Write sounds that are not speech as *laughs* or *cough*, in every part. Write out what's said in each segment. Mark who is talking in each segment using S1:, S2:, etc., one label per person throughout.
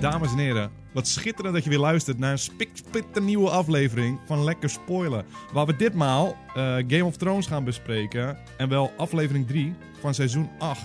S1: Dames en heren, wat schitterend dat je weer luistert naar een spiksplinternieuwe aflevering van Lekker Spoilen. Waar we ditmaal eh, Game of Thrones gaan bespreken. En wel aflevering 3 van seizoen 8.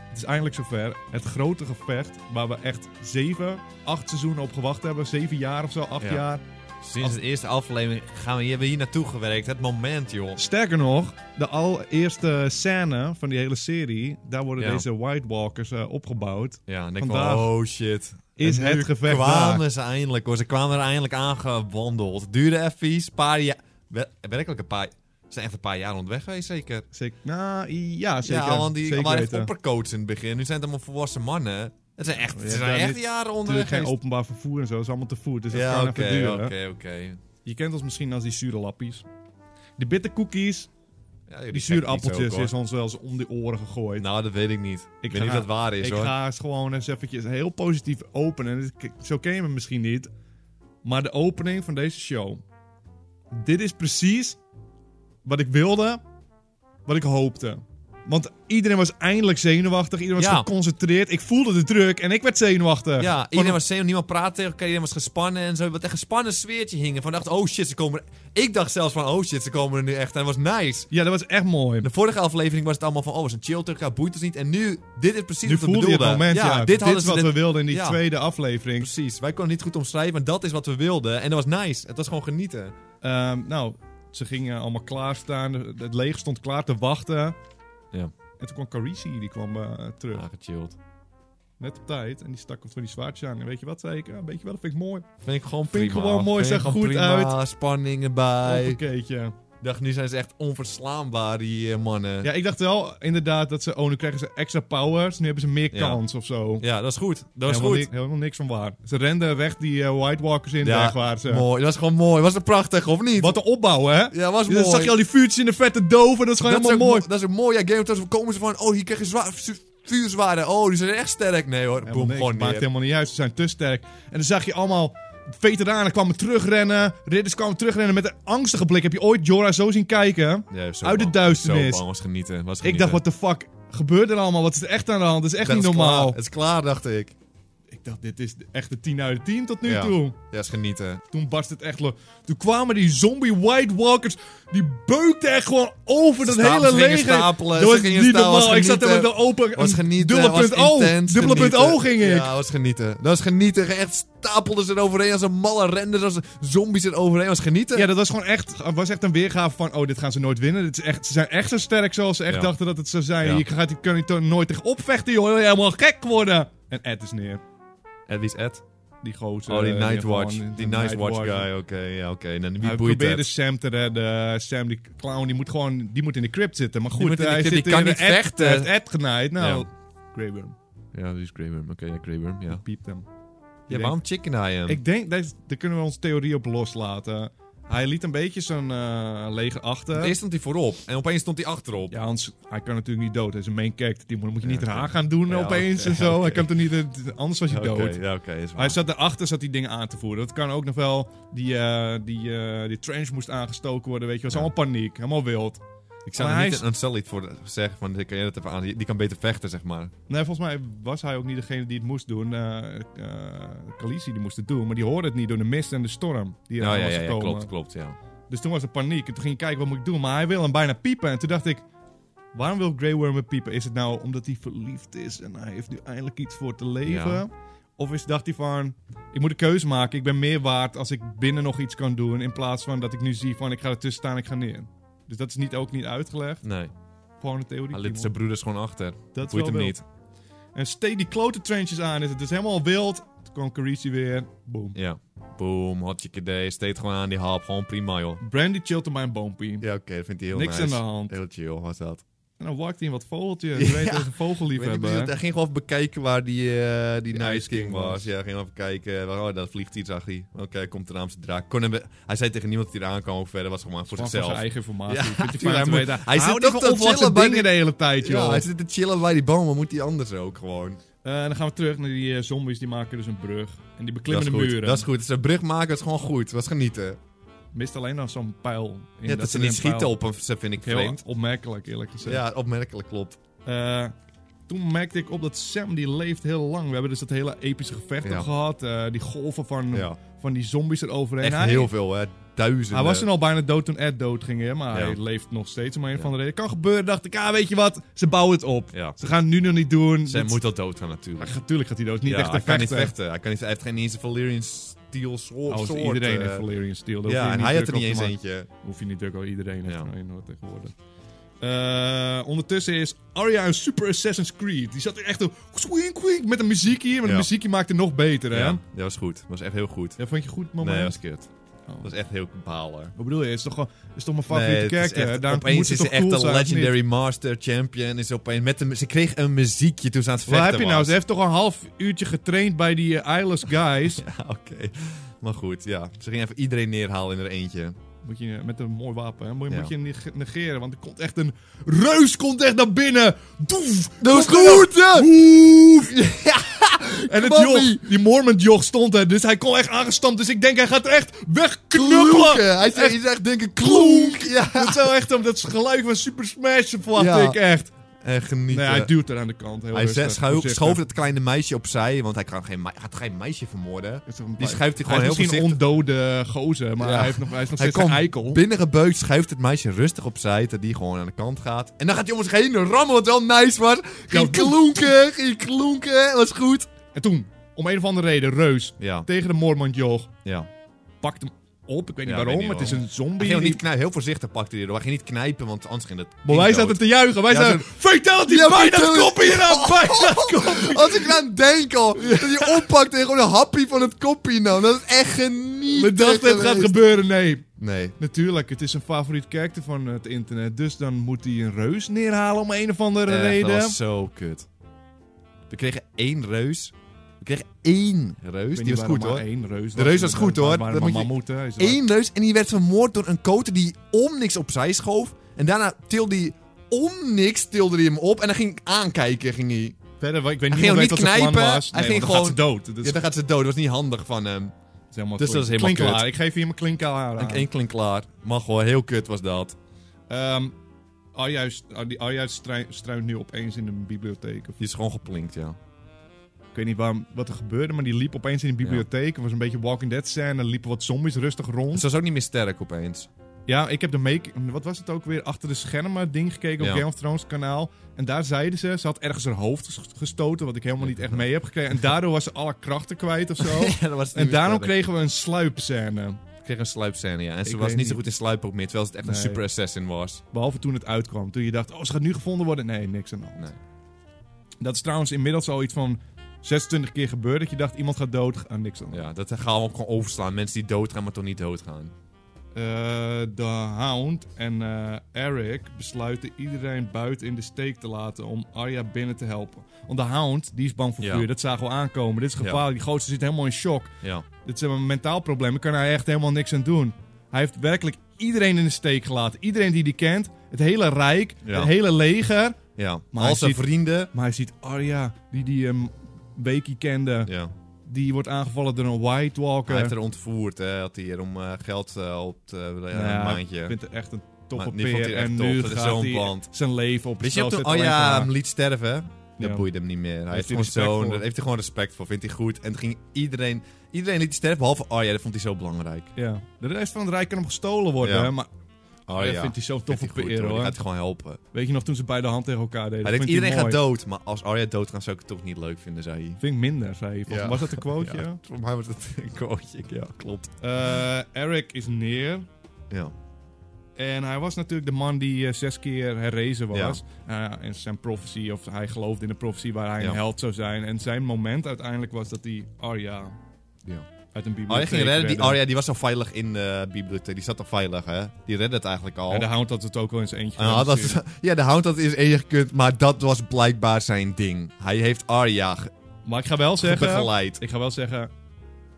S1: Het is eindelijk zover. Het grote gevecht waar we echt 7, 8 seizoenen op gewacht hebben. 7 jaar of zo, 8
S2: Ja.
S1: jaar.
S2: Sinds de eerste aflevering gaan we hier, hebben we hier naartoe gewerkt. Het moment, joh.
S1: Sterker nog, de allereerste scène van die hele serie, daar worden
S2: Ja.
S1: deze White Walkers eh, opgebouwd.
S2: Ja, en denk ik
S1: Vandaag
S2: van, oh shit.
S1: is
S2: En
S1: het
S2: nu
S1: gevecht
S2: kwamen
S1: daar.
S2: ze eindelijk, hoor. Ze kwamen er eindelijk aangewandeld. Het Duurde even vies, paar jaar... wer- werkelijk een paar... Ze zijn echt een paar jaar onderweg geweest, zeker.
S1: Zeker, nou, ja, zeker.
S2: ja, want die
S1: zeker
S2: waren echt
S1: weten.
S2: oppercoats in het begin. Nu zijn het allemaal volwassen mannen. Het zijn echt,
S1: Ja,
S2: ze
S1: daar
S2: zijn echt
S1: niet-
S2: jaren onderweg
S1: Natuurlijk geen
S2: geweest.
S1: openbaar vervoer en zo, het is allemaal te voet. Dus dat
S2: Ja,
S1: kan even
S2: oké,
S1: duren.
S2: oké, oké.
S1: Je kent ons misschien als die zure lappies. De bittercookies,
S2: Ja,
S1: die
S2: zure
S1: zure appeltjes, is ons wel eens om de oren gegooid.
S2: Nou, dat weet ik niet. Ik weet
S1: ga-
S2: niet of dat waar is,
S1: ik
S2: hoor.
S1: ga eens gewoon eens eventjes heel positief openen. K- Zo ken je me misschien niet. Maar de opening van deze show. Dit is precies wat ik wilde, wat ik hoopte. Want iedereen was eindelijk zenuwachtig, iedereen was
S2: Ja.
S1: geconcentreerd. Ik voelde de druk en ik werd zenuwachtig.
S2: Ja,
S1: Van-
S2: iedereen was zenuw, niemand praatte tegen elkaar, iedereen was gespannen en zo. Wat een gespannen sfeertje hingen. Van dacht, oh shit, ze komen er- Ik dacht zelfs van, oh shit, ze komen er nu echt. En dat was nice.
S1: ja, dat was echt mooi.
S2: De vorige aflevering was het allemaal van, oh, we zijn chill tegen elkaar, boeit ons niet. En nu, dit is precies
S1: Nu
S2: wat we
S1: voelde je het
S2: bedoelden.
S1: moment, ja.
S2: dit hadden
S1: is
S2: ze
S1: wat
S2: dit-
S1: we wilden in die
S2: ja.
S1: tweede aflevering.
S2: Precies, wij konden het niet goed omschrijven, maar dat is wat we wilden. En dat was nice. Het was gewoon genieten.
S1: Ehm, nou, ze gingen allemaal klaarstaan. De- Het leger stond klaar te wachten.
S2: Ja.
S1: En toen kwam Carisi, die kwam eh, terug.
S2: gechilled.
S1: Net op tijd. En die stak hem voor die zwaardje aan. En weet je wat, zei ik? Ja, weet je wel, dat vind ik mooi.
S2: Vind ik gewoon
S1: Vind ik
S2: prima.
S1: gewoon mooi,
S2: Vind ik
S1: zag
S2: gewoon
S1: goed
S2: prima. Spanning erbij. Ik
S1: Hoppakeetje.
S2: dacht, nu zijn ze echt onverslaanbaar, die eh, mannen.
S1: Ja, ik dacht wel inderdaad dat ze... Oh, nu krijgen ze extra powers. Nu hebben ze meer
S2: Ja.
S1: kans of zo.
S2: Ja, dat is goed. Dat is
S1: helemaal,
S2: goed.
S1: ni- helemaal niks van waar. Ze renden weg die eh, White Walkers in.
S2: Ja,
S1: echt waar ze.
S2: Mooi, dat was gewoon mooi. Was het prachtig, of niet?
S1: Wat een opbouw, hè?
S2: Ja, was
S1: Dan
S2: mooi.
S1: zag je al die vuurtjes in de vette doven. Dat is gewoon
S2: dat is ook
S1: helemaal mooi.
S2: mo- Dat is een mooie Game of Thrones. Komen ze van, oh, hier krijg je zwaar, vu- vuurzwaarden. Oh, die zijn echt sterk. Nee hoor,
S1: Helemaal
S2: boem,
S1: niks.
S2: gewoon
S1: Maakt
S2: neer.
S1: helemaal niet uit, ze zijn te sterk. En dan zag je allemaal veteranen kwamen terugrennen. Ridders kwamen terugrennen met een angstige blik. Heb je ooit Jorah zo zien kijken?
S2: Ja, zo
S1: Uit de
S2: bang.
S1: duisternis.
S2: Zo bang, was genieten. Was
S1: Ik
S2: genieten.
S1: dacht, what the fuck gebeurt er allemaal? Wat is er echt aan de hand? Dat is echt
S2: Dat
S1: niet
S2: is
S1: normaal.
S2: klaar. Het is klaar, dacht ik.
S1: Ik dacht, dit is echt de 10 uit de 10 tot nu
S2: Ja.
S1: toe.
S2: Ja, is genieten.
S1: Toen barst het echt los. Toen kwamen die zombie White Walkers. Die beukten echt gewoon over dat
S2: Ze staan-
S1: hele
S2: ze gingen
S1: leger.
S2: stapelen,
S1: dat
S2: ze
S1: was
S2: gingen
S1: niet
S2: staan, was
S1: normaal. Ik zat er met
S2: genieten.
S1: de open.
S2: Was
S1: een
S2: genieten.
S1: Dubbele
S2: was
S1: punt O.
S2: intens,
S1: Dubbele punt
S2: genieten.
S1: O ging ik.
S2: Ja, was genieten. Dat was genieten. Echt stapelden ze eroverheen als een malle renders, als zombies eroverheen. was genieten.
S1: Ja, dat was gewoon echt, was echt een weergave van, oh, dit gaan ze nooit winnen. Dit is echt, ze zijn echt zo sterk zoals ze echt
S2: Ja.
S1: dachten dat het zou zijn.
S2: Ja.
S1: Je gaat die kunnen er nooit tegen opvechten, joh. Je wil helemaal gek worden. En Ed is neer.
S2: En wie is Ed?
S1: Die gozer.
S2: Oh, die
S1: eh,
S2: Nightwatch.
S1: gewoon, eh,
S2: Die
S1: de
S2: Nightwatch
S1: Nightwatch.
S2: guy, oké. ja, oké. En dan
S1: Hij
S2: wie boeit
S1: probeerde
S2: het?
S1: Sam te redden. Sam, die clown, die moet gewoon die moet in de crypt zitten. Maar goed, eh,
S2: moet in de
S1: hij
S2: crypt,
S1: zit
S2: die kan
S1: in de
S2: niet
S1: Ed-
S2: vechten.
S1: Hij heeft Ed genaaid. Nou,
S2: Ja.
S1: Grey Worm.
S2: Ja, die is Grey Worm. Oké, ja, Grey Worm, ja.
S1: Piept hem.
S2: Ja, waarom Chicken Eye hem?
S1: Ik denk, dat- daar kunnen we onze theorie op loslaten. Hij liet een beetje zijn eh, leger achter.
S2: Want Eerst stond hij voorop en opeens stond hij achterop.
S1: Ja, anders, hij kan natuurlijk niet dood. Hij is een main character. Die moet, moet je niet
S2: Ja,
S1: raar
S2: oké.
S1: gaan doen
S2: Ja,
S1: opeens
S2: oké,
S1: en zo. Hij
S2: oké.
S1: kan toch niet, eh, anders was hij
S2: Oké,
S1: dood.
S2: Ja, oké, is waar.
S1: Hij zat erachter, zat die dingen aan te voeren. Dat kan ook nog wel. Die, eh, die, eh, die trench moest aangestoken worden, weet je. Het was
S2: Ja.
S1: allemaal paniek, helemaal wild.
S2: ik zou
S1: maar
S2: er
S1: hij
S2: niet
S1: is-
S2: een Unsullied voor de- zeggen van, kan jij dat even aan? Die die kan beter vechten, zeg maar.
S1: Nee, volgens mij was hij ook niet degene die het moest doen. eh eh, Khaleesi die moest het doen, maar die hoorde het niet door de mist en de storm. Die
S2: Ja,
S1: aan
S2: Nou ja,
S1: was
S2: ja, ja,
S1: gekomen.
S2: klopt, klopt, ja.
S1: Dus toen was er paniek. En toen ging ik kijken, wat moet ik doen? Maar hij wil hem bijna piepen. En toen dacht ik, waarom wil Grey Worm hem piepen? Is het nou omdat hij verliefd is en hij heeft nu eindelijk iets voor te leven?
S2: Ja.
S1: Of is, dacht hij van, ik moet een keuze maken. Ik ben meer waard als ik binnen nog iets kan doen. In plaats van dat ik nu zie van, ik ga ertussen staan, ik ga neer. Dus dat is niet, ook niet uitgelegd.
S2: Nee,
S1: Gewoon een theorie.
S2: hij liet
S1: Timon.
S2: zijn broeders gewoon achter.
S1: Dat is
S2: Boeit
S1: wel
S2: hem
S1: wild.
S2: niet.
S1: En steed die klote trenches aan. Is het dus helemaal wild. Toen kwam Carisi weer. Boom.
S2: Ja. Boom, hot chicken day, steed gewoon aan die hap, gewoon prima, joh.
S1: Brandy chillt op mijn boompie.
S2: Ja, oké, dat vindt hij heel
S1: Niks aan de hand.
S2: Heel chill, was dat.
S1: En dan walkt hij in wat
S2: *laughs*
S1: vogeltjes. Je weet
S2: Ja.
S1: dat ze vogelliefhebber.
S2: Weet ik niet, hij ging gewoon even bekijken waar die, eh, die
S1: Die
S2: Night
S1: Ice
S2: King,
S1: King
S2: was.
S1: was.
S2: Ja, ging even kijken. Waar, oh, daar vliegt iets, zag hij. Oké, komt de naamse draak. Kon hem, hij zei tegen niemand dat hij eraan kwam. Of verder was het gewoon voor
S1: Gewoon Van
S2: zichzelf.
S1: zijn eigen informatie.
S2: Ja,
S1: Vindt
S2: *laughs*
S1: hij fijn
S2: tuurlijk,
S1: om te
S2: hij moet-
S1: weten.
S2: hij zit
S1: Hou
S2: toch
S1: niet
S2: te
S1: van
S2: chillen
S1: onvolwassen
S2: bij die-
S1: dingen de hele tijd, joh.
S2: ja, hij zit te chillen bij die boom. Wat moet hij anders ook gewoon?
S1: Eh, en dan gaan we terug naar die eh, zombies. Die maken dus een brug. En die beklimmen
S2: dat
S1: de
S2: is goed.
S1: muren.
S2: Dat is goed. Dus een brug maken is gewoon goed. Was genieten.
S1: Mist alleen dan zo'n pijl. in
S2: Ja, dat, ze
S1: er
S2: niet
S1: een pijl-
S2: schieten op hem, ze vind ik
S1: Heel
S2: vreemd.
S1: opmerkelijk, eerlijk gezegd.
S2: Ja, opmerkelijk klopt.
S1: Eh, Toen merkte ik op dat Sam die leeft heel lang. We hebben dus dat hele epische gevecht
S2: Ja.
S1: gehad. eh, die golven van,
S2: Ja.
S1: van die zombies eroverheen.
S2: Echt
S1: Hij-
S2: heel veel, hè. Duizenden.
S1: hij was toen al bijna dood toen Ed dood ging, hè? maar
S2: Ja.
S1: hij leeft nog steeds om een of
S2: Ja.
S1: andere reden. Kan gebeuren, dacht ik, ah, weet je wat, ze bouwen het op.
S2: Ja.
S1: Ze gaan het nu nog niet doen.
S2: Sam
S1: Dit-
S2: moet al dood gaan natuurlijk.
S1: Maar Natuurlijk gaat hij dood, niet
S2: Ja,
S1: echt
S2: hij
S1: een
S2: kan niet
S1: vechter.
S2: vechten. Hij, kan niet, hij heeft geen eens een Valyrian steel soort.
S1: Als
S2: soort,
S1: iedereen
S2: eh,
S1: heeft Valerian Steel, daar hoef
S2: Ja,
S1: je
S2: en hij had
S1: druk
S2: er niet
S1: op
S2: eens
S1: te maken.
S2: eentje.
S1: Hoef je niet druk al iedereen heeft
S2: Ja.
S1: er een hoor, tegenwoordig. Eh, ondertussen is Arya een Super Assassin's Creed. Die zat er echt op, swing, swing, met een muziekje. Maar de
S2: Ja.
S1: muziekje maakt het nog beter, hè?
S2: Ja,
S1: Ja.
S2: dat was goed. Dat was echt heel goed.
S1: vond je goed, moment?
S2: Nee, dat was kut.
S1: Oh.
S2: Dat was echt heel balen.
S1: Wat bedoel je? Het is toch, gewoon- het is toch mijn
S2: Nee,
S1: favoriete
S2: het is
S1: character?
S2: echt-
S1: Daarom moet
S2: opeens
S1: ze
S2: is ze
S1: toch
S2: echt
S1: cool
S2: een
S1: zijn, of niet?
S2: legendary master champion. Is opeens met een, ze kreeg een muziekje toen ze aan het
S1: Wat
S2: vechten
S1: heb je nou?
S2: was.
S1: Ze heeft toch een half uurtje getraind bij die eh, Eyeless Guys.
S2: *laughs* Ja, oké. Maar goed, ja. Ze ging even iedereen neerhalen in haar eentje.
S1: Moet je eh, met een mooi wapen, hè? Moet je,
S2: Ja.
S1: moet je neg- negeren, want er komt echt een reus komt echt naar binnen. Doef!
S2: Dat was
S1: Kom erop.
S2: goed, ja.
S1: Woef! En het
S2: Kwam ie.
S1: joch, die Mormon joch stond er, dus hij kon echt aangestampt. Dus ik denk, hij gaat er echt wegknuppelen.
S2: Hij
S1: Echt-
S2: zegt echt, denk ik, klonk.
S1: *laughs* Dat
S2: Ja.
S1: zou echt hem, dat is geluid van Super Smash, verwacht
S2: Ja.
S1: ik echt.
S2: En genieten.
S1: Nee, hij duwt er aan de kant, heel
S2: Hij
S1: rustig.
S2: zet- schoof,
S1: voorzichtig.
S2: schoof het kleine meisje opzij, want hij kan geen, mei- gaat geen meisje vermoorden.
S1: Dat is toch een
S2: Die
S1: paar-
S2: schuift hij gewoon
S1: hij is
S2: heel
S1: misschien een ondode gozer, maar
S2: Ja.
S1: hij, heeft nog, hij is nog
S2: Hij
S1: steeds een
S2: komt
S1: eikel.
S2: binnengebeukt, schuift het meisje rustig opzij, dat die gewoon aan de kant gaat. En dan gaat hij om zich heen rammen, wat wel nice was. Ging
S1: Ja.
S2: klonken, ging klonken, was goed.
S1: En toen, om een of andere reden, Reus
S2: Ja,
S1: tegen de Mormont joch
S2: ja.
S1: pakt hem op. Ik weet niet
S2: Ja,
S1: waarom,
S2: weet niet
S1: het is
S2: waarom.
S1: een zombie.
S2: Hij ging ook niet knijpen, heel voorzichtig pakte hij erdoor. Hij ging niet knijpen, want anders ging het
S1: maar wij zaten te juichen. Wij
S2: Ja,
S1: zeiden, Fatality, ja, bij dat
S2: fatality.
S1: kopje *laughs*
S2: Oh.
S1: eraan, bij dat kopje.
S2: Als ik aan denk al, dat hij oppakt en gewoon een happy van het kopje nam. Dat is echt genieten
S1: We dachten het gaat
S2: geweest.
S1: gebeuren, nee.
S2: Nee.
S1: Natuurlijk, het is een favoriet karakter van het internet. Dus dan moet hij een reus neerhalen om een of andere
S2: Echt,
S1: reden.
S2: Dat was zo kut. We kregen één reus. We kregen één reus. Die was goed hoor.
S1: Één reus
S2: De reus was goed, hoor.
S1: Maar,
S2: Dat
S1: maar
S2: moet je-
S1: mammoet, hè, is dat-
S2: Eén reus en die werd vermoord door een koter die om niks opzij schoof. En daarna tilde hij om niks tilde hij hem op. En dan ging hij aankijken. Ging hij.
S1: Verder, ik weet
S2: Hij
S1: niet
S2: ging
S1: of
S2: hem
S1: weet wat
S2: niet
S1: zijn plan
S2: knijpen,
S1: was.
S2: hij
S1: Nee,
S2: ging
S1: want dan gaat ze
S2: gewoon-
S1: dood. Dat is,
S2: Ja, dan gaat ze dood. Dat was niet handig van hem. Ah.
S1: dat is helemaal
S2: dus dat is helemaal kut.
S1: Klinklaar, ik geef je hem klinklaar aan.
S2: En één klink klaar. Mag hoor, heel kut was dat.
S1: Ehm Arja is- die Arja strui- struint nu opeens in een bibliotheek. Of,
S2: Die is gewoon geplinkt, ja.
S1: ik weet niet waarom, wat er gebeurde, maar die liep opeens in een bibliotheek. Het was een beetje Walking Dead scène. Er liepen wat zombies rustig rond.
S2: Ze was ook niet meer sterk opeens.
S1: Ja, ik heb de make... Wat was het ook weer? Achter de schermen ding gekeken op
S2: Ja.
S1: Game of Thrones kanaal. En daar zeiden ze... Ze had ergens haar hoofd ges- gestoten, wat ik helemaal niet echt mee heb gekregen. En daardoor was ze alle krachten kwijt of
S2: *laughs*
S1: zo.
S2: *laughs* Ja, dat was niet
S1: en
S2: meer
S1: daarom
S2: sterk.
S1: kregen we een sluipscène.
S2: kreeg een sluipscène, ja. En ze
S1: Ik
S2: was
S1: weet
S2: niet, zo
S1: niet.
S2: goed in sluipen ook meer, terwijl ze echt
S1: Nee.
S2: een super assassin was.
S1: Behalve toen het uitkwam. Toen je dacht, oh, ze gaat nu gevonden worden. Nee, niks aan de hand.
S2: Nee.
S1: Dat is trouwens inmiddels al iets van 26 keer gebeurd. Dat je dacht, iemand gaat dood. Ah, niks aan de hand.
S2: Ja, dat gaan we ook gewoon overslaan. Mensen die doodgaan, maar toch niet doodgaan.
S1: Eh, de Hound en eh, Eric besluiten iedereen buiten in de steek te laten om Arya binnen te helpen. Want de Hound, die is bang voor
S2: Ja.
S1: vuur. Dat zagen we aankomen. Dit is gevaarlijk. Die gozer zit helemaal in shock.
S2: Ja.
S1: Dit zijn een mentaal problemen. Kan hij echt helemaal niks aan doen. Hij heeft werkelijk iedereen in de steek gelaten. Iedereen die die kent. Het hele rijk.
S2: Ja.
S1: Het hele leger.
S2: ja.
S1: Maar
S2: Al
S1: hij
S2: zijn
S1: ziet-
S2: vrienden...
S1: Maar hij ziet Arya, die die hem Beaky kende.
S2: Ja.
S1: Die wordt aangevallen door een White Walker.
S2: Hij heeft er ontvoerd, hè. Had hij er om eh, geld eh, op te... eh,
S1: Nou
S2: een
S1: ja, Ik
S2: maandje.
S1: vind het echt een toffe
S2: Maar die vond
S1: peer.
S2: hij echt
S1: En
S2: tof.
S1: nu
S2: Dat is
S1: gaat
S2: zo'n
S1: hij
S2: band.
S1: zijn leven op het
S2: Weet
S1: spel
S2: je, ook toen
S1: zetten alleen
S2: Arja
S1: maar-
S2: hem liet sterven, dat
S1: Ja.
S2: boeide hem niet meer. Hij heeft
S1: hij
S2: gewoon
S1: respect
S2: zo'n...
S1: voor.
S2: Daar heeft hij gewoon respect voor. Vindt hij goed. En toen ging iedereen... Iedereen liet hij sterven, behalve Arja. Dat vond hij zo belangrijk.
S1: Ja. De rest van het rijk kan hem gestolen worden.
S2: Ja.
S1: hè, Maar
S2: Arja.
S1: dat vindt hij zo'n
S2: Vindt
S1: toffe
S2: hij goed,
S1: peer
S2: hoor. Die
S1: hoor.
S2: gaat hij gewoon helpen.
S1: Weet je nog toen ze bij de hand tegen elkaar deden?
S2: Hij
S1: Dat
S2: denkt,
S1: vindt
S2: iedereen gaat
S1: mooi.
S2: dood. Maar als Arya doodgaat, zou ik het toch niet leuk vinden, zei hij.
S1: Vind ik minder, zei hij. Volgens
S2: Ja.
S1: mij Was dat een quoteje?
S2: *laughs* Ja, voor mij was dat een quoteje. Ja, klopt.
S1: Eh, Eric is neer.
S2: Ja.
S1: En hij was natuurlijk de man die eh, zes keer herrezen
S2: Ja.
S1: was. Eh, en zijn profetie, of hij geloofde in de profetie waar hij een
S2: Ja.
S1: held zou zijn. En zijn moment uiteindelijk was dat hij Arya
S2: ja.
S1: uit een bibliotheek
S2: Arya Oh, ging redden. Die
S1: redde.
S2: Arya die was al veilig in eh, de bibliotheek. Die zat al veilig, hè. Die redde het eigenlijk al.
S1: En de hound had het ook wel eens eentje.
S2: En had
S1: gedaan,
S2: Ah,
S1: dus
S2: dat-
S1: natuurlijk.
S2: ja, de hound had is enig gekund, maar dat was blijkbaar zijn ding. Hij heeft Arya ge-
S1: Maar ik ga wel zeggen...
S2: begeleid.
S1: Ik ga wel zeggen...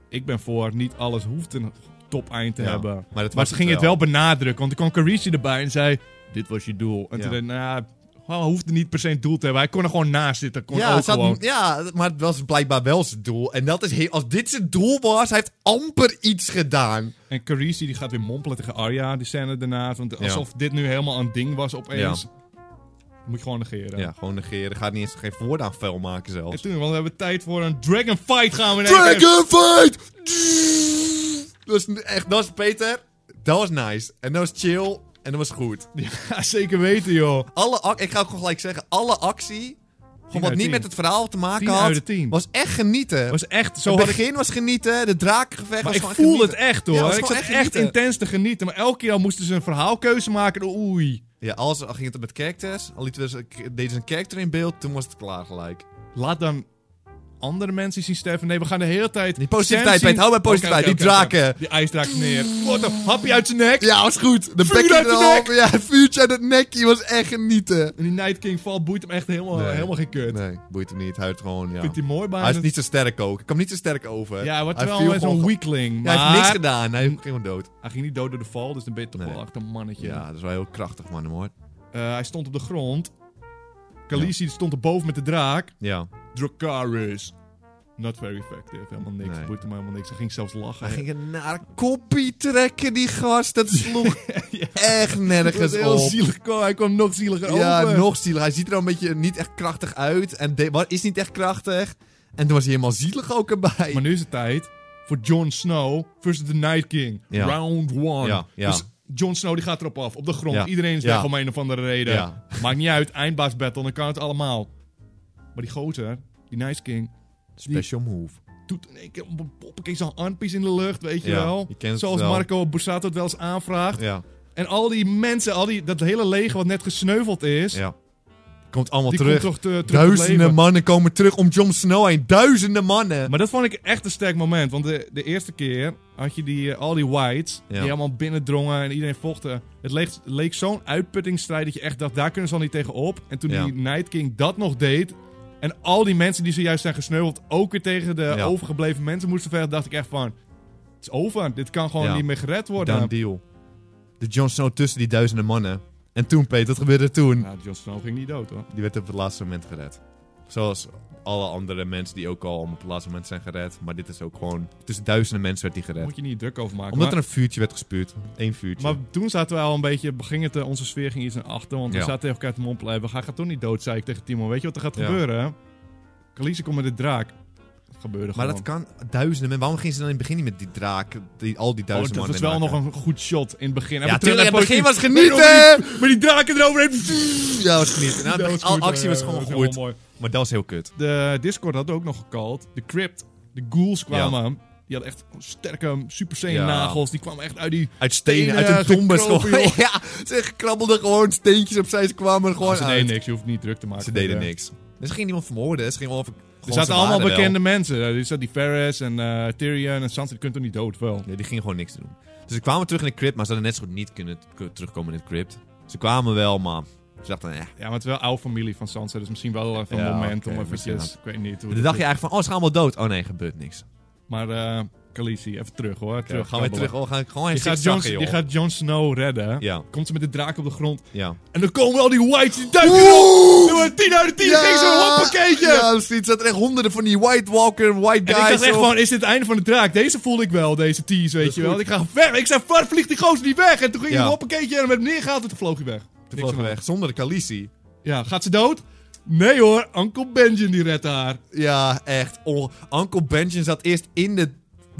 S1: Ik ben voor niet alles hoeft een top-eind te
S2: Ja,
S1: hebben. Maar,
S2: Maar, dat
S1: ze ging het wel benadrukken. Want toen kwam Carisi erbij en zei... Dit was je doel. En
S2: Ja.
S1: toen dacht ik, nou... Hij hoefde niet per se een doel te hebben. Hij kon er gewoon naast zitten. Kon
S2: Ja,
S1: ook
S2: het had-
S1: gewoon.
S2: ja, maar het was blijkbaar wel zijn doel. En dat is heel, als dit zijn doel was, hij heeft amper iets gedaan.
S1: En Carisi die gaat weer mompelen tegen Arya, die scène daarna. Want
S2: Ja.
S1: alsof dit nu helemaal een ding was opeens. Moet je gewoon negeren.
S2: Ja, gewoon negeren. Gaat niet eens geen woord aan vuil maken
S1: En
S2: zelfs.
S1: toen, want we hebben tijd voor een Dragon Fight gaan we nemen.
S2: Dragonfight! Dat is echt, dat is Peter. Dat was nice. En dat was chill. En dat was goed.
S1: *laughs* Ja, zeker weten, joh.
S2: Alle ac- ik ga ook gewoon gelijk zeggen, alle actie, gewoon wat
S1: uit
S2: niet
S1: tien.
S2: met het verhaal te maken
S1: Tien
S2: had,
S1: uit de tien.
S2: was echt genieten.
S1: was echt zo
S2: het
S1: had ik...
S2: begin was genieten, de draakgevecht
S1: Maar
S2: was
S1: ik
S2: gewoon
S1: voelde het
S2: genieten.
S1: echt,
S2: Ja,
S1: hoor.
S2: was
S1: ik
S2: gewoon
S1: zat echt,
S2: echt genieten.
S1: intens te genieten. Maar elke keer al moesten ze een verhaalkeuze maken. Oei.
S2: Ja, alles al ging het met characters. Al lieten we ze- deden ze een character in beeld, toen was het klaar gelijk.
S1: Laat dan andere mensen zien sterven. Nee, we gaan de hele tijd...
S2: Die positiviteit,
S1: Sam zien-
S2: Pet, hou bij positiviteit.
S1: Oké, oké,
S2: Die
S1: oké, oké.
S2: draken.
S1: Die ijsdraak neer. Wat een hapje uit zijn nek.
S2: Ja, was goed. De
S1: Vuur
S2: bekje
S1: uit de
S2: erop. Ja, het vuurtje uit het nekje was echt genieten.
S1: En die Night King valt boeit hem echt helemaal,
S2: Nee.
S1: helemaal geen kut.
S2: Nee, boeit hem niet. Hij heeft gewoon, ja.
S1: Vindt hij mooi bijna.
S2: Hij is niet zo sterk ook. Ik kwam niet zo sterk over.
S1: Ja, hij wordt
S2: Eh, Hij
S1: wel
S2: viel
S1: een-
S2: gewoon-
S1: zo'n weakling.
S2: Ja,
S1: Maar
S2: hij heeft niks gedaan. Hij ging gewoon dood.
S1: Hij ging niet dood door de val, dus dan ben je toch
S2: Nee.
S1: wel echt een mannetje.
S2: Ja, dat is wel heel krachtig, man, hoor.
S1: Eh, hij stond op de grond. Khaleesi stond erboven met de draak.
S2: Ja.
S1: Dracarys. Not very effective. Helemaal niks.
S2: Nee.
S1: Boeit hem helemaal niks. Hij ging zelfs lachen.
S2: Hij ging een naar koppie trekken, die gast. Dat sloeg
S1: *laughs* Ja.
S2: echt
S1: Het was
S2: nergens
S1: heel
S2: op.
S1: zielig. kwam- Hij kwam nog zieliger
S2: Ja,
S1: over.
S2: nog zielig. Hij ziet er al een beetje niet echt krachtig uit. En de- wat is niet echt krachtig. En toen was hij helemaal zielig ook erbij.
S1: Maar nu is het tijd voor Jon Snow versus de Night King.
S2: Ja.
S1: Round one.
S2: Ja, ja.
S1: Dus Jon Snow die gaat erop af. Op de grond.
S2: Ja.
S1: Iedereen is
S2: Ja.
S1: weg om een of andere reden.
S2: Ja.
S1: *laughs* Maakt niet uit. Eindbaas battle. Dan kan het allemaal. Maar die gozer, die Night King...
S2: Special move.
S1: doet in één keer op een poppetje zo'n armpies in de lucht, weet je
S2: Ja,
S1: wel.
S2: je kent het
S1: Zoals
S2: wel.
S1: Marco Borsato het wel eens aanvraagt.
S2: Ja,
S1: En al die mensen, al die, dat hele leger wat net gesneuveld is,
S2: ja. Komt allemaal
S1: die
S2: terug.
S1: komt toch te, terug tot
S2: Duizenden
S1: leven.
S2: mannen komen terug om Jon Snow heen. Duizenden mannen.
S1: Maar dat vond ik echt een sterk moment, want de, de eerste keer had je die, eh, al die whites
S2: Ja.
S1: die helemaal binnendrongen en iedereen vochten. Het leek, leek zo'n uitputtingsstrijd dat je echt dacht, daar kunnen ze al niet tegen op. En toen
S2: Ja.
S1: die Night King dat nog deed en al die mensen die zojuist zijn gesneuveld ook weer tegen de
S2: Ja.
S1: overgebleven mensen moesten vechten, dacht ik echt van... Het is over, dit kan gewoon
S2: Ja.
S1: niet meer gered worden.
S2: Dan deal. De Jon Snow tussen die duizenden mannen. En toen, Peter, wat gebeurde er toen?
S1: Nou, Jon Snow ging niet dood hoor.
S2: Die werd op het laatste moment gered. Zoals alle andere mensen die ook al op het laatste moment zijn gered. Maar dit is ook gewoon... Tussen duizenden mensen werd hij gered.
S1: Moet je niet druk over maken.
S2: Omdat er
S1: maar,
S2: een vuurtje werd gespuurd. Eén vuurtje.
S1: maar toen zaten we al een beetje, beging het, eh, onze sfeer ging iets naar achter. Want we
S2: Ja.
S1: zaten tegen elkaar te mompelen. "Hey, We gaan, gaan toch niet dood, zei ik tegen Timo. Weet je wat er gaat
S2: Ja.
S1: gebeuren? hè? Khaleesi komt met de draak. Dat gebeurde
S2: Maar
S1: gewoon.
S2: dat kan duizenden mensen. Waarom gingen ze dan in het begin niet met die draak, die, al die
S1: Oh,
S2: duizenden
S1: dat was
S2: mannen?
S1: wel nog
S2: maken?
S1: een goed shot in het begin.
S2: Ja,
S1: Even terug
S2: tuurlijk,
S1: naar
S2: in het begin was
S1: positief.
S2: genieten!
S1: Met die- Met die draken eroverheen.
S2: Ja, was niet.
S1: *laughs*
S2: Nou,
S1: Dat was
S2: al
S1: goed,
S2: actie
S1: eh,
S2: was gewoon
S1: dat
S2: goed.
S1: helemaal mooi.
S2: Maar dat was heel kut.
S1: De Discord had ook nog gekald. De Crypt, de ghouls kwamen. Die hadden echt sterke Super Saiyan
S2: Ja.
S1: nagels. Die kwamen echt uit die...
S2: Uit stenen,
S1: Stenen,
S2: uit de tombes
S1: gekropen,
S2: gewoon.
S1: joh.
S2: *laughs* ja, ze krabbelden gewoon steentjes opzij. Ze kwamen er gewoon
S1: Ah, ze
S2: uit.
S1: deden niks, je hoeft niet druk te maken.
S2: Ze deden
S1: Ja.
S2: niks. Dus ze gingen niemand vermoorden. Ze gingen wel... gewoon-
S1: Er
S2: ze
S1: zaten
S2: waren
S1: allemaal
S2: wel.
S1: bekende mensen. Er zat die Ferris en eh, Tyrion en Sansa. Die kunt toch niet dood, wel?
S2: Nee, die gingen gewoon niks doen. Dus ze kwamen terug in de crypt, maar ze hadden net zo goed niet kunnen t- k- terugkomen in de crypt. Ze kwamen wel, maar ze dachten, eh.
S1: Ja, maar het is wel oude familie van Sansa. Dus misschien wel even een
S2: Ja,
S1: moment
S2: oké,
S1: om
S2: misschien
S1: eventjes... Ik weet niet hoe
S2: Dan
S1: dat
S2: dacht je
S1: is.
S2: eigenlijk van, oh, ze gaan allemaal dood. Oh nee, gebeurt niks.
S1: Maar eh Khaleesi, even terug hoor.
S2: Terug,
S1: terug,
S2: gaan we terug.
S1: kabbelen.
S2: Oh, we gaan gewoon
S1: Je
S2: eens
S1: gaat, Jon,
S2: zigzaggen, joh.
S1: je gaat Jon Snow redden.
S2: Ja,
S1: Komt ze met de draak op de grond.
S2: ja.
S1: En dan komen al die whites. Die duiken erop. Doen we 10 uit de 10. Ging zo'n hoppakeetje.
S2: Ja, misschien zaten er echt honderden van die White Walker, White
S1: En
S2: Guys.
S1: ik dacht echt
S2: op.
S1: gewoon, is dit het einde van de draak? Deze voelde ik wel, deze tease, weet
S2: is
S1: je wel.
S2: goed.
S1: Ik ga ver. Ik zei, ver, vliegt die gozer niet weg. En toen ging
S2: Ja.
S1: hij op een keertje en met hem neergehaald en toen vloog hij weg.
S2: Toen
S1: Niks
S2: vlogen
S1: aan
S2: we
S1: de
S2: weg, zonder de Khaleesi.
S1: hand. Ja, gaat ze dood? Nee hoor, Uncle Benjen die redt haar.
S2: Ja, echt. Oh, Uncle Benjen zat eerst in de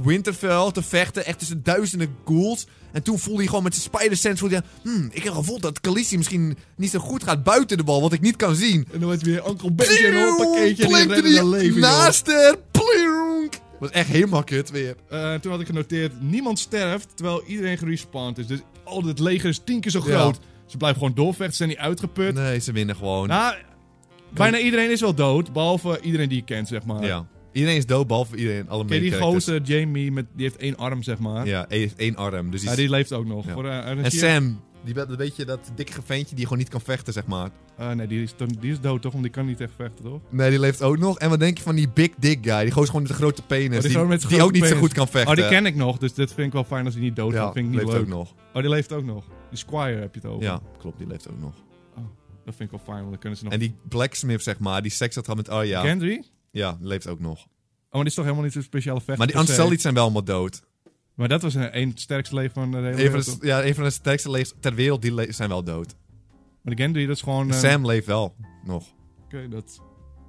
S2: Winterfell te vechten. Echt tussen duizenden ghouls. En toen voelde hij gewoon met zijn spider sense... Voelde hij, hmm, ik heb gevoeld dat Khaleesi misschien niet zo goed gaat buiten de bal. Wat ik niet kan zien.
S1: En dan was weer Uncle Benjen op een keertje en die
S2: Plinkte
S1: redde
S2: die
S1: haar leven, joh.
S2: naast haar. Plink. was echt helemaal kut weer.
S1: Eh, Toen had ik genoteerd, niemand sterft terwijl iedereen gerespawnd is. Dus al het leger is tien keer zo
S2: Ja.
S1: groot. Ze blijven gewoon doorvechten, ze zijn niet uitgeput.
S2: Nee, ze winnen gewoon.
S1: Nou, bijna iedereen is wel dood, behalve iedereen die je kent, zeg maar.
S2: ja. Iedereen is dood, behalve iedereen. Alle
S1: Ken je
S2: main
S1: die
S2: characters.
S1: gozer, Jamie, met, die heeft één arm, zeg maar.
S2: Ja, hij heeft één arm. Dus die
S1: Ja,
S2: is-
S1: die leeft ook nog.
S2: Ja.
S1: Voor, eh, eh,
S2: En
S1: zie je-
S2: Sam, die, be- dat weet je, dat dikke ventje die gewoon niet kan vechten, zeg maar.
S1: Eh, nee, die is, to- die is dood toch? Want die kan niet echt vechten, toch?
S2: Nee, die leeft ook nog. En wat denk je van die big dick guy? Die goos gewoon met een grote penis.
S1: Oh, die
S2: Dus die
S1: gewoon met
S2: die
S1: grote
S2: ook niet zo
S1: penis.
S2: goed kan vechten.
S1: Oh, die ken ik nog. Dus dat vind ik wel fijn als die niet dood
S2: ja,
S1: gaat. vind ik niet
S2: leeft
S1: leuk.
S2: ook nog.
S1: Oh, die leeft ook nog. Die Squire heb je het over.
S2: Ja, klopt, die leeft ook nog.
S1: Dat vind ik wel fijn, want dan kunnen ze nog...
S2: En die blacksmith, zeg maar, die seks had gehad met Arya.
S1: Gendry? Oh,
S2: Ja, die leeft ook nog.
S1: maar die is toch helemaal niet zo'n speciale vechter
S2: Maar die
S1: per se?
S2: Unsullied zijn wel allemaal dood.
S1: Maar dat was een, een sterkste leven van de hele
S2: Een van
S1: wereld,
S2: de,
S1: toch?
S2: ja, een van de sterkste legers ter wereld, die le- zijn wel dood.
S1: Maar de Gendry, dat is gewoon... eh,
S2: Sam leeft wel nog.
S1: Oké, dat...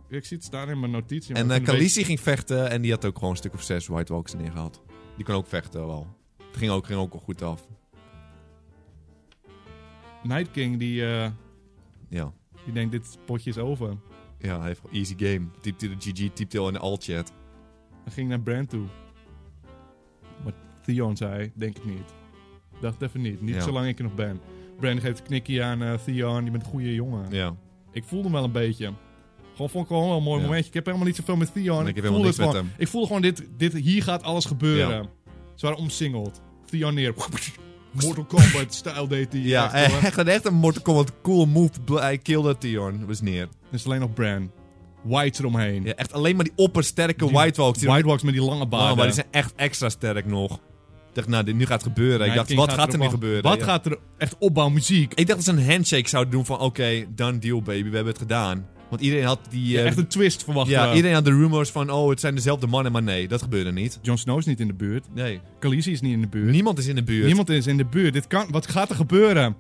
S1: Ik zie het staan in mijn notitie. maar
S2: En
S1: ik
S2: eh
S1: vind het een
S2: Khaleesi ging vechten en die had ook gewoon een stuk of zes White Walkers neergehaald. Die kon ook vechten wel. Het ging ook, ging ook wel goed af.
S1: beetje- Night King, die, eh,
S2: Ja,
S1: die denkt, dit potje is over.
S2: ja hij heeft gewoon easy game. Typte de GG, typte al in de alt-chat.
S1: Hij ging naar Brand toe. Maar Theon zei, denk ik niet. Dacht even niet. Niet
S2: Ja.
S1: zolang ik er nog ben. Brand geeft een knikkie aan eh, Theon. Die bent een goede jongen.
S2: Ja.
S1: Ik voelde hem wel een beetje. Gewoon vond ik gewoon wel een mooi
S2: Ja.
S1: momentje. Ik heb helemaal niet zoveel met Theon.
S2: Nee, ik heb
S1: voelde het
S2: helemaal niks met
S1: gewoon. Ik voelde gewoon, dit, dit, hier gaat alles gebeuren. Ze waren omsingeld. Theon
S2: *laughs*
S1: neer. Mortal Kombat stijl deed hij.
S2: Ja,
S1: echt, hoor.
S2: *laughs* echt, echt, echt een Mortal Kombat cool move. Bl- Hij killde Theon. was neer.
S1: Er is alleen nog Bran. White eromheen.
S2: Ja, echt alleen maar die oppersterke
S1: Die
S2: White Walkers. Die
S1: White Walks met die lange
S2: Oh,
S1: baarden.
S2: maar die zijn echt extra sterk nog. Ik dacht, nou, dit, nu gaat het gebeuren.
S1: Night
S2: ik dacht,
S1: King
S2: wat gaat er nu
S1: erop af.
S2: gebeuren?
S1: Wat
S2: Ja.
S1: gaat er... Echt opbouwmuziek.
S2: Ik dacht dat ze een handshake zouden doen van, oké, done deal, baby. We hebben het gedaan. Want iedereen had die... eh,
S1: Echt een twist verwachten.
S2: ja,
S1: we.
S2: iedereen had de rumors van, oh, het zijn dezelfde mannen. Maar nee, dat gebeurde niet.
S1: Jon Snow is niet in de buurt.
S2: Nee.
S1: Khaleesi is niet in de buurt.
S2: Niemand is in de buurt.
S1: Niemand is in de buurt. Dit kan... Wat gaat er gebeuren?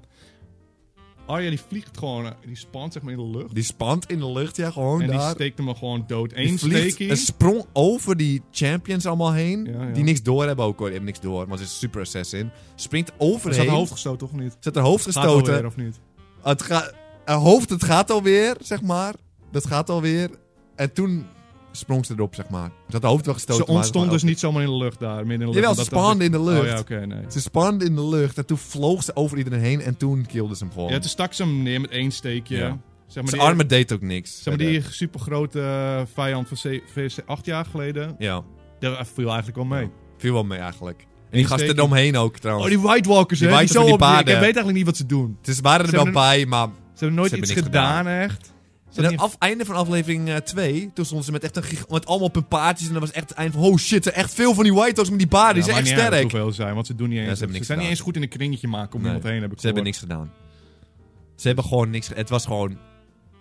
S1: Arya die vliegt gewoon... eh, Die spant zeg maar in de lucht.
S2: Die spant in de lucht, ja, gewoon
S1: En die
S2: daar.
S1: steekt hem er gewoon dood.
S2: Die
S1: Eén
S2: vliegt
S1: steekje.
S2: een sprong over die champions allemaal heen.
S1: Ja, ja.
S2: Die niks door hebben ook hoor. Die hebben niks door, want ze is een super assassin. Springt
S1: Ze had
S2: overheen.
S1: haar hoofd gestoten, toch niet?
S2: Zet haar hoofd
S1: Gaat
S2: gestoten.
S1: alweer, of niet?
S2: het ga- haar hoofd, het gaat alweer, zeg maar. Dat gaat alweer. En toen sprong ze erop, zeg maar. Ze had haar hoofd wel gestoten.
S1: Ze
S2: maar-
S1: ontstond
S2: maar-
S1: dus niet zomaar in de lucht daar. Midden in de lucht,
S2: Jawel, ze
S1: omdat dat-
S2: spaande in de lucht.
S1: Oh ja, oké, nee.
S2: Ze spande in de lucht en toen vloog ze over iedereen heen en toen kilde ze hem gewoon.
S1: Ja, toen stak ze hem neer met één steekje.
S2: Ja.
S1: Zeg maar
S2: Zijn
S1: die,
S2: armen deed ook niks.
S1: zeg maar die supergrote eh, vijand van C- VSC acht jaar geleden.
S2: Ja,
S1: Daar viel eigenlijk wel mee.
S2: viel wel mee eigenlijk. En die gasten
S1: steekje.
S2: eromheen ook trouwens.
S1: Oh, die White Walkers,
S2: Die
S1: hè?
S2: White
S1: Zo
S2: Walkers,
S1: op-
S2: die
S1: ik
S2: paarden.
S1: weet eigenlijk niet wat ze doen.
S2: Dus ze waren er
S1: Ze
S2: wel
S1: hebben
S2: bij, maar...
S1: Ze hebben nooit
S2: Ze hebben
S1: iets
S2: niks
S1: gedaan, echt.
S2: En aan het af, einde van aflevering eh, 2, toen stonden ze met echt een gig- met allemaal op hun paardjes. En dat was echt het einde van, oh shit, er zijn echt veel van die White Hawks met ah, die paarden. die zijn echt sterk.
S1: hoeveel ze zijn, want ze doen niet eens.
S2: Ja, ze
S1: ze
S2: hebben niks
S1: zijn niet
S2: gedaan.
S1: eens goed in een kringetje maken om
S2: Nee,
S1: iemand heen, heb ik
S2: Ze hebben
S1: gehoord.
S2: niks gedaan. Ze hebben gewoon niks... ge- Het was gewoon...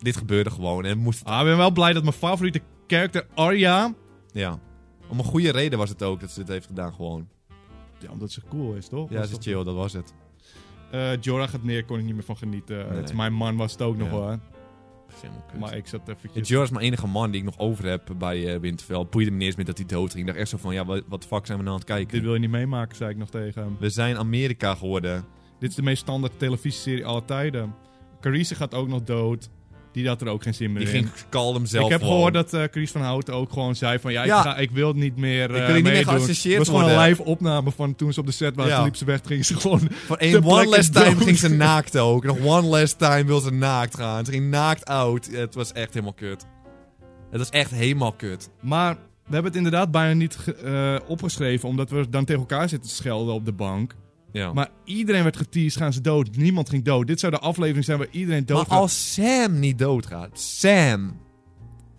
S2: Dit gebeurde gewoon. En we moesten...
S1: Ah, ik ben wel blij dat mijn favoriete character, Arya...
S2: Ja. Om een goede reden was het ook dat ze dit heeft gedaan gewoon.
S1: Ja, omdat ze cool is, toch?
S2: Ja,
S1: Was
S2: ze
S1: toch-
S2: chill. Dat was het.
S1: Eh, Jorah gaat neer, kon ik niet meer van genieten.
S2: Nee.
S1: Het- mijn man was het ook nog
S2: Ja.
S1: hoor.
S2: Maar
S1: Maar ik zat eventjes...
S2: Jorah is mijn enige man die ik nog over heb bij eh, Winterfell. Het boeide me niet eens meer dat hij dood ging. Ik dacht echt zo van, ja, wat, wat de fuck zijn we nou aan het
S1: Dit
S2: kijken?
S1: wil je niet meemaken, zei ik nog tegen hem.
S2: We zijn Amerika geworden.
S1: Dit is de meest standaard televisieserie aller tijden. Carice gaat ook nog dood. Die had er ook geen zin meer
S2: Die
S1: in.
S2: ging kalm zelf
S1: ik heb
S2: gewoon.
S1: gehoord dat eh Carice van Houten ook gewoon zei van... Ja,
S2: Ja.
S1: Ik, ga, ik wil niet meer eh
S2: wil niet meer
S1: meedoen.
S2: geassocieerd
S1: Het was gewoon een
S2: worden.
S1: live opname van toen ze op de set waren.
S2: Ja.
S1: Toen liep ze weg, toen ging ze *laughs* gewoon...
S2: Voor
S1: ter
S2: één one
S1: plekke
S2: last time
S1: dood.
S2: ging ze naakt ook. Nog one last time wil ze naakt gaan. Ze ging naakt out. Het was echt helemaal kut. Het was echt helemaal kut.
S1: Maar we hebben het inderdaad bijna niet ge- eh, opgeschreven... omdat we dan tegen elkaar zitten te schelden op de bank.
S2: Ja.
S1: Maar iedereen werd geteased, gaan ze dood. Niemand ging dood. Dit zou de aflevering zijn waar iedereen dood
S2: Maar als Sam niet doodgaat, Sam.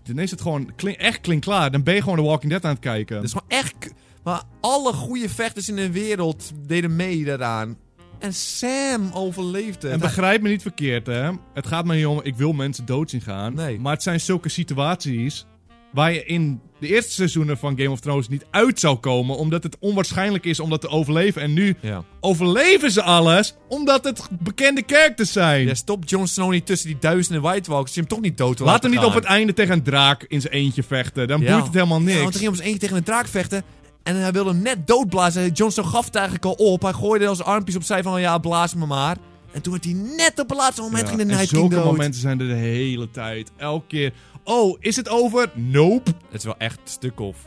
S1: Dan is het gewoon klink, echt klinkklaar. Dan ben je gewoon The Walking Dead aan het kijken.
S2: Dat is gewoon echt. k- Maar alle goede vechters in de wereld deden mee daaraan. En Sam overleefde.
S1: En
S2: het.
S1: begrijp me niet verkeerd, hè. Het gaat me niet om, ik wil mensen dood zien gaan.
S2: Nee.
S1: Maar het zijn zulke situaties waar je in de eerste seizoenen van Game of Thrones niet uit zou komen. Omdat het onwaarschijnlijk is om dat te overleven. En nu
S2: Ja.
S1: overleven ze alles omdat het bekende characters zijn.
S2: ja, stop Jon Snow niet tussen die duizenden White Walkers. Die hem toch niet dood wil
S1: Laat hem niet
S2: laten
S1: op het
S2: gaan.
S1: einde tegen een draak in zijn eentje vechten. Dan boeit het helemaal
S2: Ja,
S1: niks.
S2: want hij ging op zijn eentje tegen een draak vechten. En hij wilde hem net doodblazen. Jon Snow gaf het eigenlijk al op. Hij gooide al zijn armpjes opzij van ja, blaas me maar. En toen werd hij net op het laatste moment
S1: Ja,
S2: ging de
S1: en
S2: Night King
S1: zulke
S2: dood.
S1: momenten zijn er de hele tijd. Elke keer. Oh, is het over? Nope.
S2: Het is wel echt een stuk of...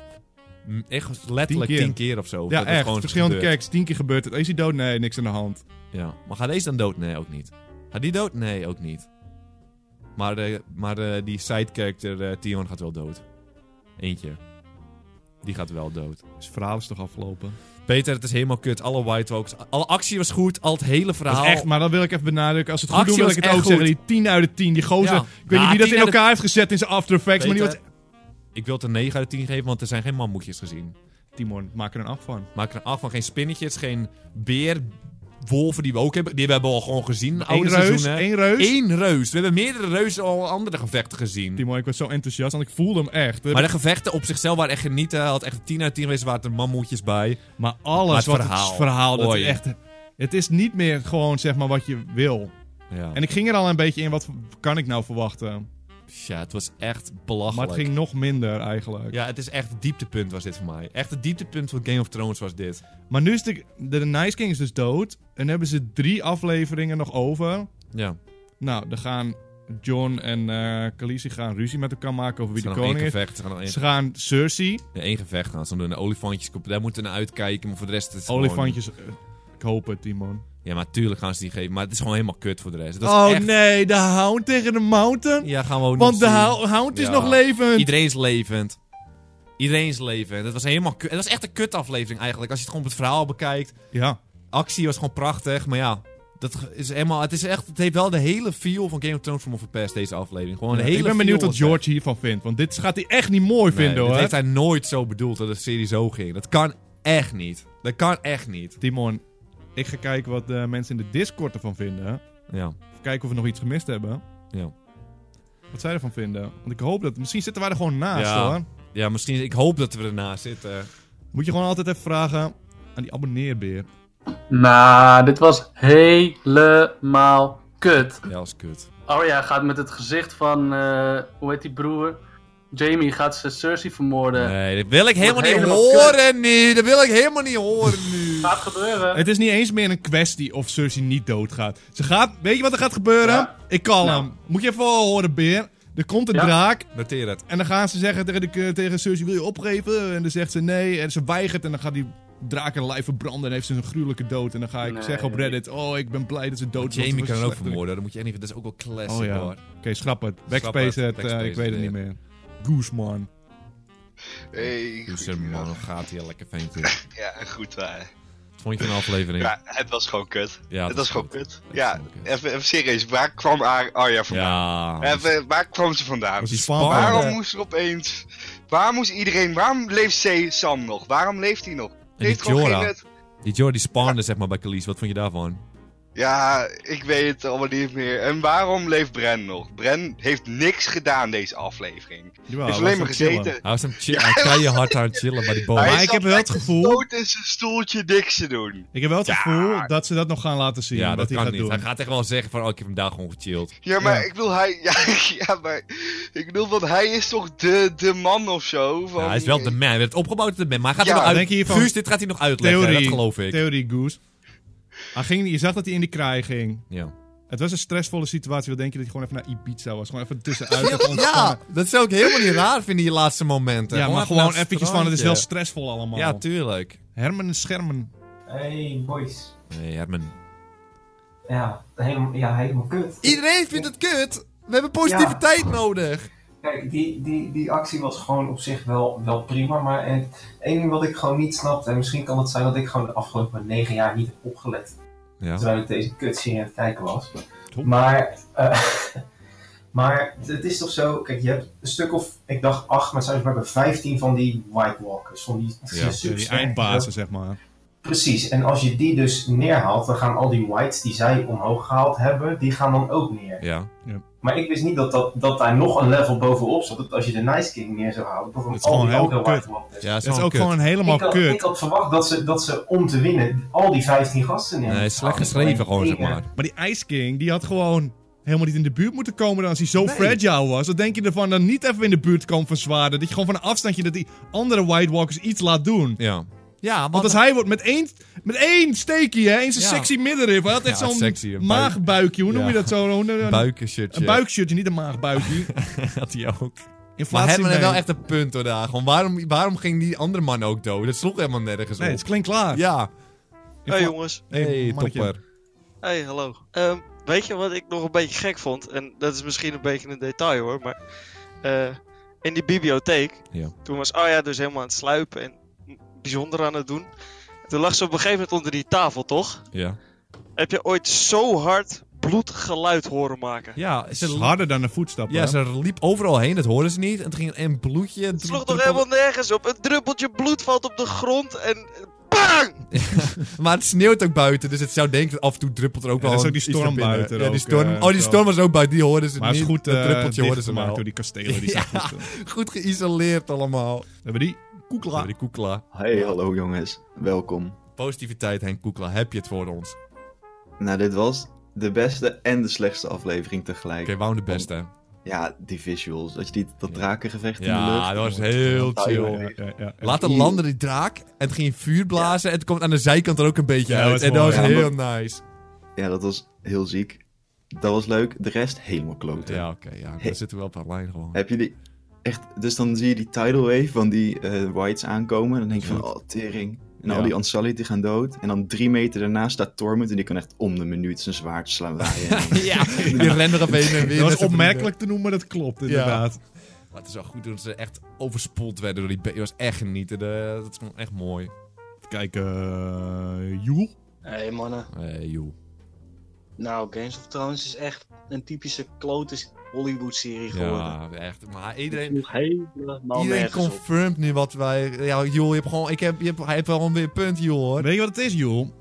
S2: mm, Echt letterlijk
S1: Tien keer.
S2: tien keer of zo.
S1: Ja,
S2: dat het
S1: echt.
S2: gewoon
S1: Verschillende
S2: gebeurt.
S1: kerks. Tien keer gebeurt het. Is hij dood? Nee, niks aan de hand.
S2: Ja. Maar gaat deze dan dood? Nee, ook niet. Gaat die dood? Nee, ook niet. Maar, eh, maar eh, die side character eh Tion gaat wel dood. Eentje. Die gaat wel dood.
S1: Dus het verhaal is toch afgelopen?
S2: Peter, het is helemaal kut. Alle White Walks. Alle actie was goed. Al het hele
S1: Dat
S2: verhaal.
S1: is echt, maar dat wil ik even benadrukken. Als ze het goed
S2: Actie
S1: doen, wil
S2: was
S1: ik het
S2: echt
S1: ook
S2: goed.
S1: zeggen. Die 10 uit de 10. Die gozer.
S2: Ja.
S1: Ik weet
S2: Ja,
S1: niet wie dat
S2: 10
S1: in
S2: uit de-
S1: elkaar heeft gezet in zijn After Effects. Maar die
S2: Peter,
S1: wordt...
S2: Ik wil het een 9 uit de 10 geven, want er zijn geen mammoetjes gezien.
S1: Timon, maak er een 8 van.
S2: Maak er een 8 van. Geen spinnetjes, geen beer, wolven die we ook hebben. Die hebben we al gewoon gezien. in
S1: Eén
S2: oude
S1: reus.
S2: seizoenen.
S1: Één reus.
S2: Eén reus. We hebben meerdere reuzen al andere gevechten gezien.
S1: Timon, ik was zo enthousiast, want ik voelde hem echt.
S2: Maar de gevechten op zichzelf waren echt genieten. Had echt 10 uit 10 geweest, waren er mammoetjes bij.
S1: Maar
S2: Maar
S1: alles
S2: het
S1: wat
S2: verhaal.
S1: het verhaal, dat
S2: Oei.
S1: is echt... Het is niet meer gewoon zeg maar wat je wil.
S2: Ja.
S1: En ik ging er al een beetje in, wat kan ik nou verwachten?
S2: Tja, het was echt
S1: Maar
S2: belachelijk.
S1: het ging nog minder eigenlijk.
S2: Ja, het is echt het dieptepunt was dit voor mij. Echt het dieptepunt van Game of Thrones was dit.
S1: Maar nu is de, de, de Nice King is dus dood. En hebben ze drie afleveringen nog over.
S2: Ja.
S1: Nou, dan gaan John en eh Khaleesi gaan ruzie met elkaar maken over wie
S2: Ze
S1: de
S2: gaan nog één
S1: koning is.
S2: gevecht. Ze gaan nog één,
S1: Ze gaan Cersei,
S2: ja, één gevecht gaan. Ze doen de olifantjes. Daar moeten we naar uitkijken. Maar voor de rest is het gewoon-
S1: olifantjes... eh, Ik hoop het, Timon.
S2: Ja, maar tuurlijk gaan ze die geven. Maar het is gewoon helemaal kut voor de rest. Het was
S1: Oh
S2: echt...
S1: nee, de hound tegen de mountain?
S2: Ja, gaan we ook nog
S1: Want de
S2: zien.
S1: hou- hound is
S2: Ja.
S1: nog levend.
S2: Iedereen is levend. Iedereen is levend. Het was helemaal kut. Het was echt een kut aflevering eigenlijk. Als je het gewoon op het verhaal bekijkt.
S1: Ja.
S2: Actie was gewoon prachtig. Maar ja, dat ge- is helemaal... Het, is echt, het heeft wel de hele feel van Game of Thrones voor me verpest, deze aflevering. Gewoon de hele
S1: ik ben benieuwd
S2: feel
S1: wat
S2: was weg.
S1: George hiervan vindt. Want dit gaat hij echt niet mooi
S2: Nee,
S1: vinden hoor.
S2: Dat heeft hij nooit zo bedoeld dat de serie zo ging. Dat kan echt niet. Dat kan echt niet.
S1: Timon, ik ga kijken wat de mensen in de Discord ervan vinden.
S2: Ja,
S1: Even kijken of we nog iets gemist hebben.
S2: ja.
S1: Wat zij ervan vinden. Want ik hoop dat... Misschien zitten wij er gewoon naast
S2: Ja.
S1: hoor.
S2: ja misschien. Ik hoop dat we ernaast zitten.
S1: Moet je gewoon altijd even vragen aan die abonneerbeer.
S3: Nou, dit was helemaal kut.
S2: Ja, als kut.
S3: Oh ja, gaat met het gezicht van, eh, hoe heet die broer? Jamie gaat ze Cersei vermoorden.
S2: Nee, dat wil ik helemaal niet
S3: helemaal
S2: horen nu. Dat wil ik helemaal niet horen nu.
S3: Gaat gebeuren.
S1: Het is niet eens meer een kwestie of Cersei niet doodgaat. Ze gaat... Weet je wat er gaat gebeuren?
S3: Ja.
S1: Ik call
S3: Nou.
S1: hem. Moet je even horen beer. Er komt een
S3: Ja.
S1: draak.
S2: Noteer het.
S1: En dan gaan ze zeggen tegen, de, tegen Cersei, wil je opgeven? En dan zegt ze nee. En ze weigert en dan gaat die draak haar lijf verbranden. En heeft ze een gruwelijke dood. En dan ga ik
S3: Nee.
S1: zeggen op Reddit, oh, ik ben blij dat ze dood is. want
S2: Jamie
S1: ze was
S2: kan er ook
S1: slecht.
S2: vermoorden. Dat moet je echt niet. Dat is ook wel classic
S1: Oh ja.
S2: hoor.
S1: Oké, schrap het.
S2: Schrap het,
S1: Backspace het, eh,
S2: backspace
S1: ik weet het
S2: het,
S1: niet
S2: ja.
S1: meer. Gooseman.
S4: Hey,
S2: Superman,
S4: goedemiddag.
S2: hoe gaat hier lekker ventje?
S4: Ja, goed waar.
S2: Wat Vond je van de aflevering?
S4: Ja, het was gewoon kut.
S2: Ja,
S4: het was gewoon kut. Ja,
S2: is gewoon kut.
S4: even, even serieus. Waar kwam Ar- Arya vandaan?
S2: Ja.
S4: Even, waar kwam ze vandaan?
S1: Was die
S4: Waarom
S1: Span?
S4: moest er opeens... Waar moest iedereen... Waarom leeft Zee Sam nog? Waarom leeft hij nog?
S2: die
S4: Leeft gewoon
S2: Jorah?
S4: geen nut.
S2: Die Jordi spawnde zeg maar bij Khalees. Wat vond je daarvan?
S4: Ja, ik weet het allemaal niet meer. En waarom leeft Bren nog? Bren heeft niks gedaan deze aflevering. Hij
S1: Jawel,
S4: heeft
S1: was
S4: alleen maar
S1: aan het chillen. Oh,
S4: gezeten.
S2: Hij was hem chill. Hij kan je hard aan het chillen bij die boom.
S1: Maar
S4: Hij
S1: ik
S4: zat
S1: heb wel het
S4: lekker
S1: gevoel...
S4: Dood in zijn stoeltje niks te doen.
S1: Ik heb wel het gevoel dat ze dat nog gaan laten zien.
S2: Ja,
S1: wat
S2: dat
S1: hij
S2: kan
S1: gaat
S2: niet.
S1: doen.
S2: Hij gaat echt wel zeggen van, oh, ik heb hem daar gewoon gechilled.
S4: Ja, maar
S1: Ja.
S4: ik bedoel, hij. *laughs* Ja, ja, maar. Ik bedoel, want hij is toch de, de man of zo? Van,
S2: Ja, hij is wel de man. Hij werd opgebouwd tot de man. Maar hij gaat
S4: Ja,
S2: er nog uit...
S1: denk je hiervan-
S2: Guus, dit gaat hij nog uitleggen.
S1: Theorie,
S2: Dat geloof ik.
S1: Theorie, Goose. Hij ging, je zag dat hij in de kraai ging.
S2: Ja.
S1: Het was een stressvolle situatie. Wat denk je dat je gewoon even naar Ibiza was? Gewoon even tussenuit. even ontspannen.
S2: Ja, dat zou ik helemaal niet raar vinden in je laatste momenten.
S1: Ja, maar gewoon
S2: naar het
S1: eventjes van, het is wel
S2: strandje.
S1: stressvol allemaal.
S2: Ja, tuurlijk.
S1: Herman en Schermen.
S5: Hey boys.
S2: Nee, Herman.
S5: Ja, helemaal, ja, helemaal kut.
S2: Iedereen vindt het kut. We hebben
S5: positiviteit
S2: nodig.
S5: Kijk, die, die, die actie was gewoon op zich wel, wel prima. Maar het één ding wat ik gewoon niet snapte, en misschien kan het zijn dat ik gewoon de afgelopen negen jaar niet heb opgelet.
S2: Ja.
S5: Terwijl ik deze kutserie aan het kijken was.
S1: Top.
S5: Maar, eh, *laughs* maar het is toch zo, kijk, je hebt een stuk of, ik dacht acht, maar het zijn er maar 15 van die White Walkers. Van die,
S2: Ja, die
S1: Die
S5: supersterke-
S1: eindbazen, zeg maar.
S5: Precies, en als je die dus neerhaalt, dan gaan al die whites die zij omhoog gehaald hebben, die gaan dan ook neer.
S2: Ja.
S5: Maar ik wist niet dat, dat, dat daar nog een level bovenop zat. Dat als je de Nice King neer zou halen, dat dan
S1: Dat is
S5: al
S1: gewoon
S5: die
S1: heel
S5: andere
S1: kut.
S5: White Walkers.
S2: ja,
S1: Dat is ook gewoon helemaal
S5: ik, had, ik
S1: kut.
S5: had verwacht dat ze, dat ze om te winnen al die 15 gasten Ah, neer.
S2: Nee, slecht geschreven gewoon, zeg maar.
S1: Maar die Ice King, die had gewoon helemaal niet in de buurt moeten komen dan als hij zo fragile was. Wat denk je ervan dan niet even in de buurt komen van zwaarden? Dat je gewoon van een afstandje dat die andere White Walkers iets laat doen.
S2: Ja. Ja,
S1: Want als hij wordt met één, met één steekje, hè, in zijn
S2: Ja.
S1: sexy middenrif. Hij had
S2: Ja,
S1: echt
S2: sexy, een
S1: zo'n
S2: buik.
S1: maagbuikje. Hoe noem je
S2: Ja.
S1: dat zo? Hoe noem je dat?
S2: buikenshirtje.
S1: Een buikshirtje, niet een maagbuikje.
S2: *laughs* had hij ook. Maar
S1: Inflatie
S2: Herman heeft
S1: mee.
S2: wel echt een punt hoor daar. Gewoon, waarom, waarom ging die andere man ook dood? Dat sloeg helemaal nergens op.
S1: Nee, het klinkt klaar.
S2: Ja.
S6: Hey jongens,
S1: Hey,
S2: hey,
S1: mannetje.
S2: topper.
S6: hey hallo. Ehm, weet je wat ik nog een beetje gek vond? En dat is misschien een beetje een detail hoor, maar eh, in die bibliotheek,
S2: Ja.
S6: toen was Arya dus helemaal aan het sluipen en bijzonder aan het doen. Toen lag ze op een gegeven moment onder die tafel, toch?
S2: Ja.
S6: Heb je ooit zo hard bloedgeluid horen maken?
S2: Ja,
S1: Het is
S2: ze,
S1: harder dan een voetstap.
S2: ja,
S1: hè?
S2: ze liep overal heen. Dat hoorden ze niet. En het ging een bloedje.
S6: Het sloeg toch helemaal nergens op? Een druppeltje bloed valt op de grond en bang!
S2: Maar het sneeuwt ook buiten, dus het zou denken dat af en toe druppelt er ook
S1: Ja,
S2: wel
S1: er is
S2: een-
S1: ook die
S2: iets naar
S1: storm
S2: binnen.
S1: buiten
S2: Ja, die
S1: ook,
S2: storm.
S1: eh,
S2: oh, die
S1: zo.
S2: storm was ook buiten, die hoorden ze
S1: Maar het is
S2: niet.
S1: goed eh,
S2: dat druppeltje hoorden ze
S1: gemaakt
S2: wel.
S1: door die kastelen.
S2: *laughs*
S1: Die zijn
S2: Ja.
S1: goed, eh.
S2: Goed geïsoleerd allemaal.
S1: We hebben die koekla.
S2: Ja, die Koekla.
S7: Hey, hallo jongens. Welkom.
S2: Positiviteit, Henk Koekla. Heb je het voor ons?
S7: Nou, dit was de beste en de slechtste aflevering tegelijk.
S2: Oké, wou de beste.
S7: Ja, die visuals. Dat je die, dat drakengevecht in de lucht...
S2: Ja, dat was heel chill.
S1: Ja, ja, ja.
S2: Later landde die draak en het ging in vuur blazen. En het komt aan de zijkant er ook een beetje
S1: Ja, dat
S2: uit.
S1: is
S2: En dat
S1: mooi,
S2: was
S1: ja.
S2: heel nice.
S7: Ja, dat was heel ziek. Dat was leuk. De rest helemaal kloten.
S2: Ja, oké. ja, daar
S7: Hey.
S2: zitten we op een lijn *laughs* gewoon.
S7: Heb je die... Echt, dus dan zie je die tidal wave van die eh, whites aankomen. En dan denk je van,
S2: Goed.
S7: oh, tering. En
S2: Ja.
S7: al die Ansalit die gaan dood. En dan drie meter daarna staat Torment. En die kan echt om de minuut zijn zwaard slaan waaien.
S2: *laughs* ja, die rennen op heen en weer.
S1: Dat
S2: met
S1: was
S2: zijn
S1: opmerkelijk te noemen, maar dat klopt inderdaad.
S2: vrienden. Maar het is wel goed dat ze echt overspoeld werden door die... be- Het was echt genieten. eh, Dat is gewoon echt mooi.
S1: Kijk, eh Joel.
S8: Hé mannen,
S2: Eh, joh.
S8: nou Games of Thrones is echt een typische klote Hollywood serie geworden.
S2: Ja, echt. Maar
S8: Het
S2: iedereen...
S8: sloeg helemaal
S2: Iedereen
S8: nergens op.
S2: confirmt nu wat wij... Ja, joh, je hebt gewoon... Ik heb, je hebt, hij heeft wel weer een punt, joh, hoor.
S1: Weet je wat het is, Joel?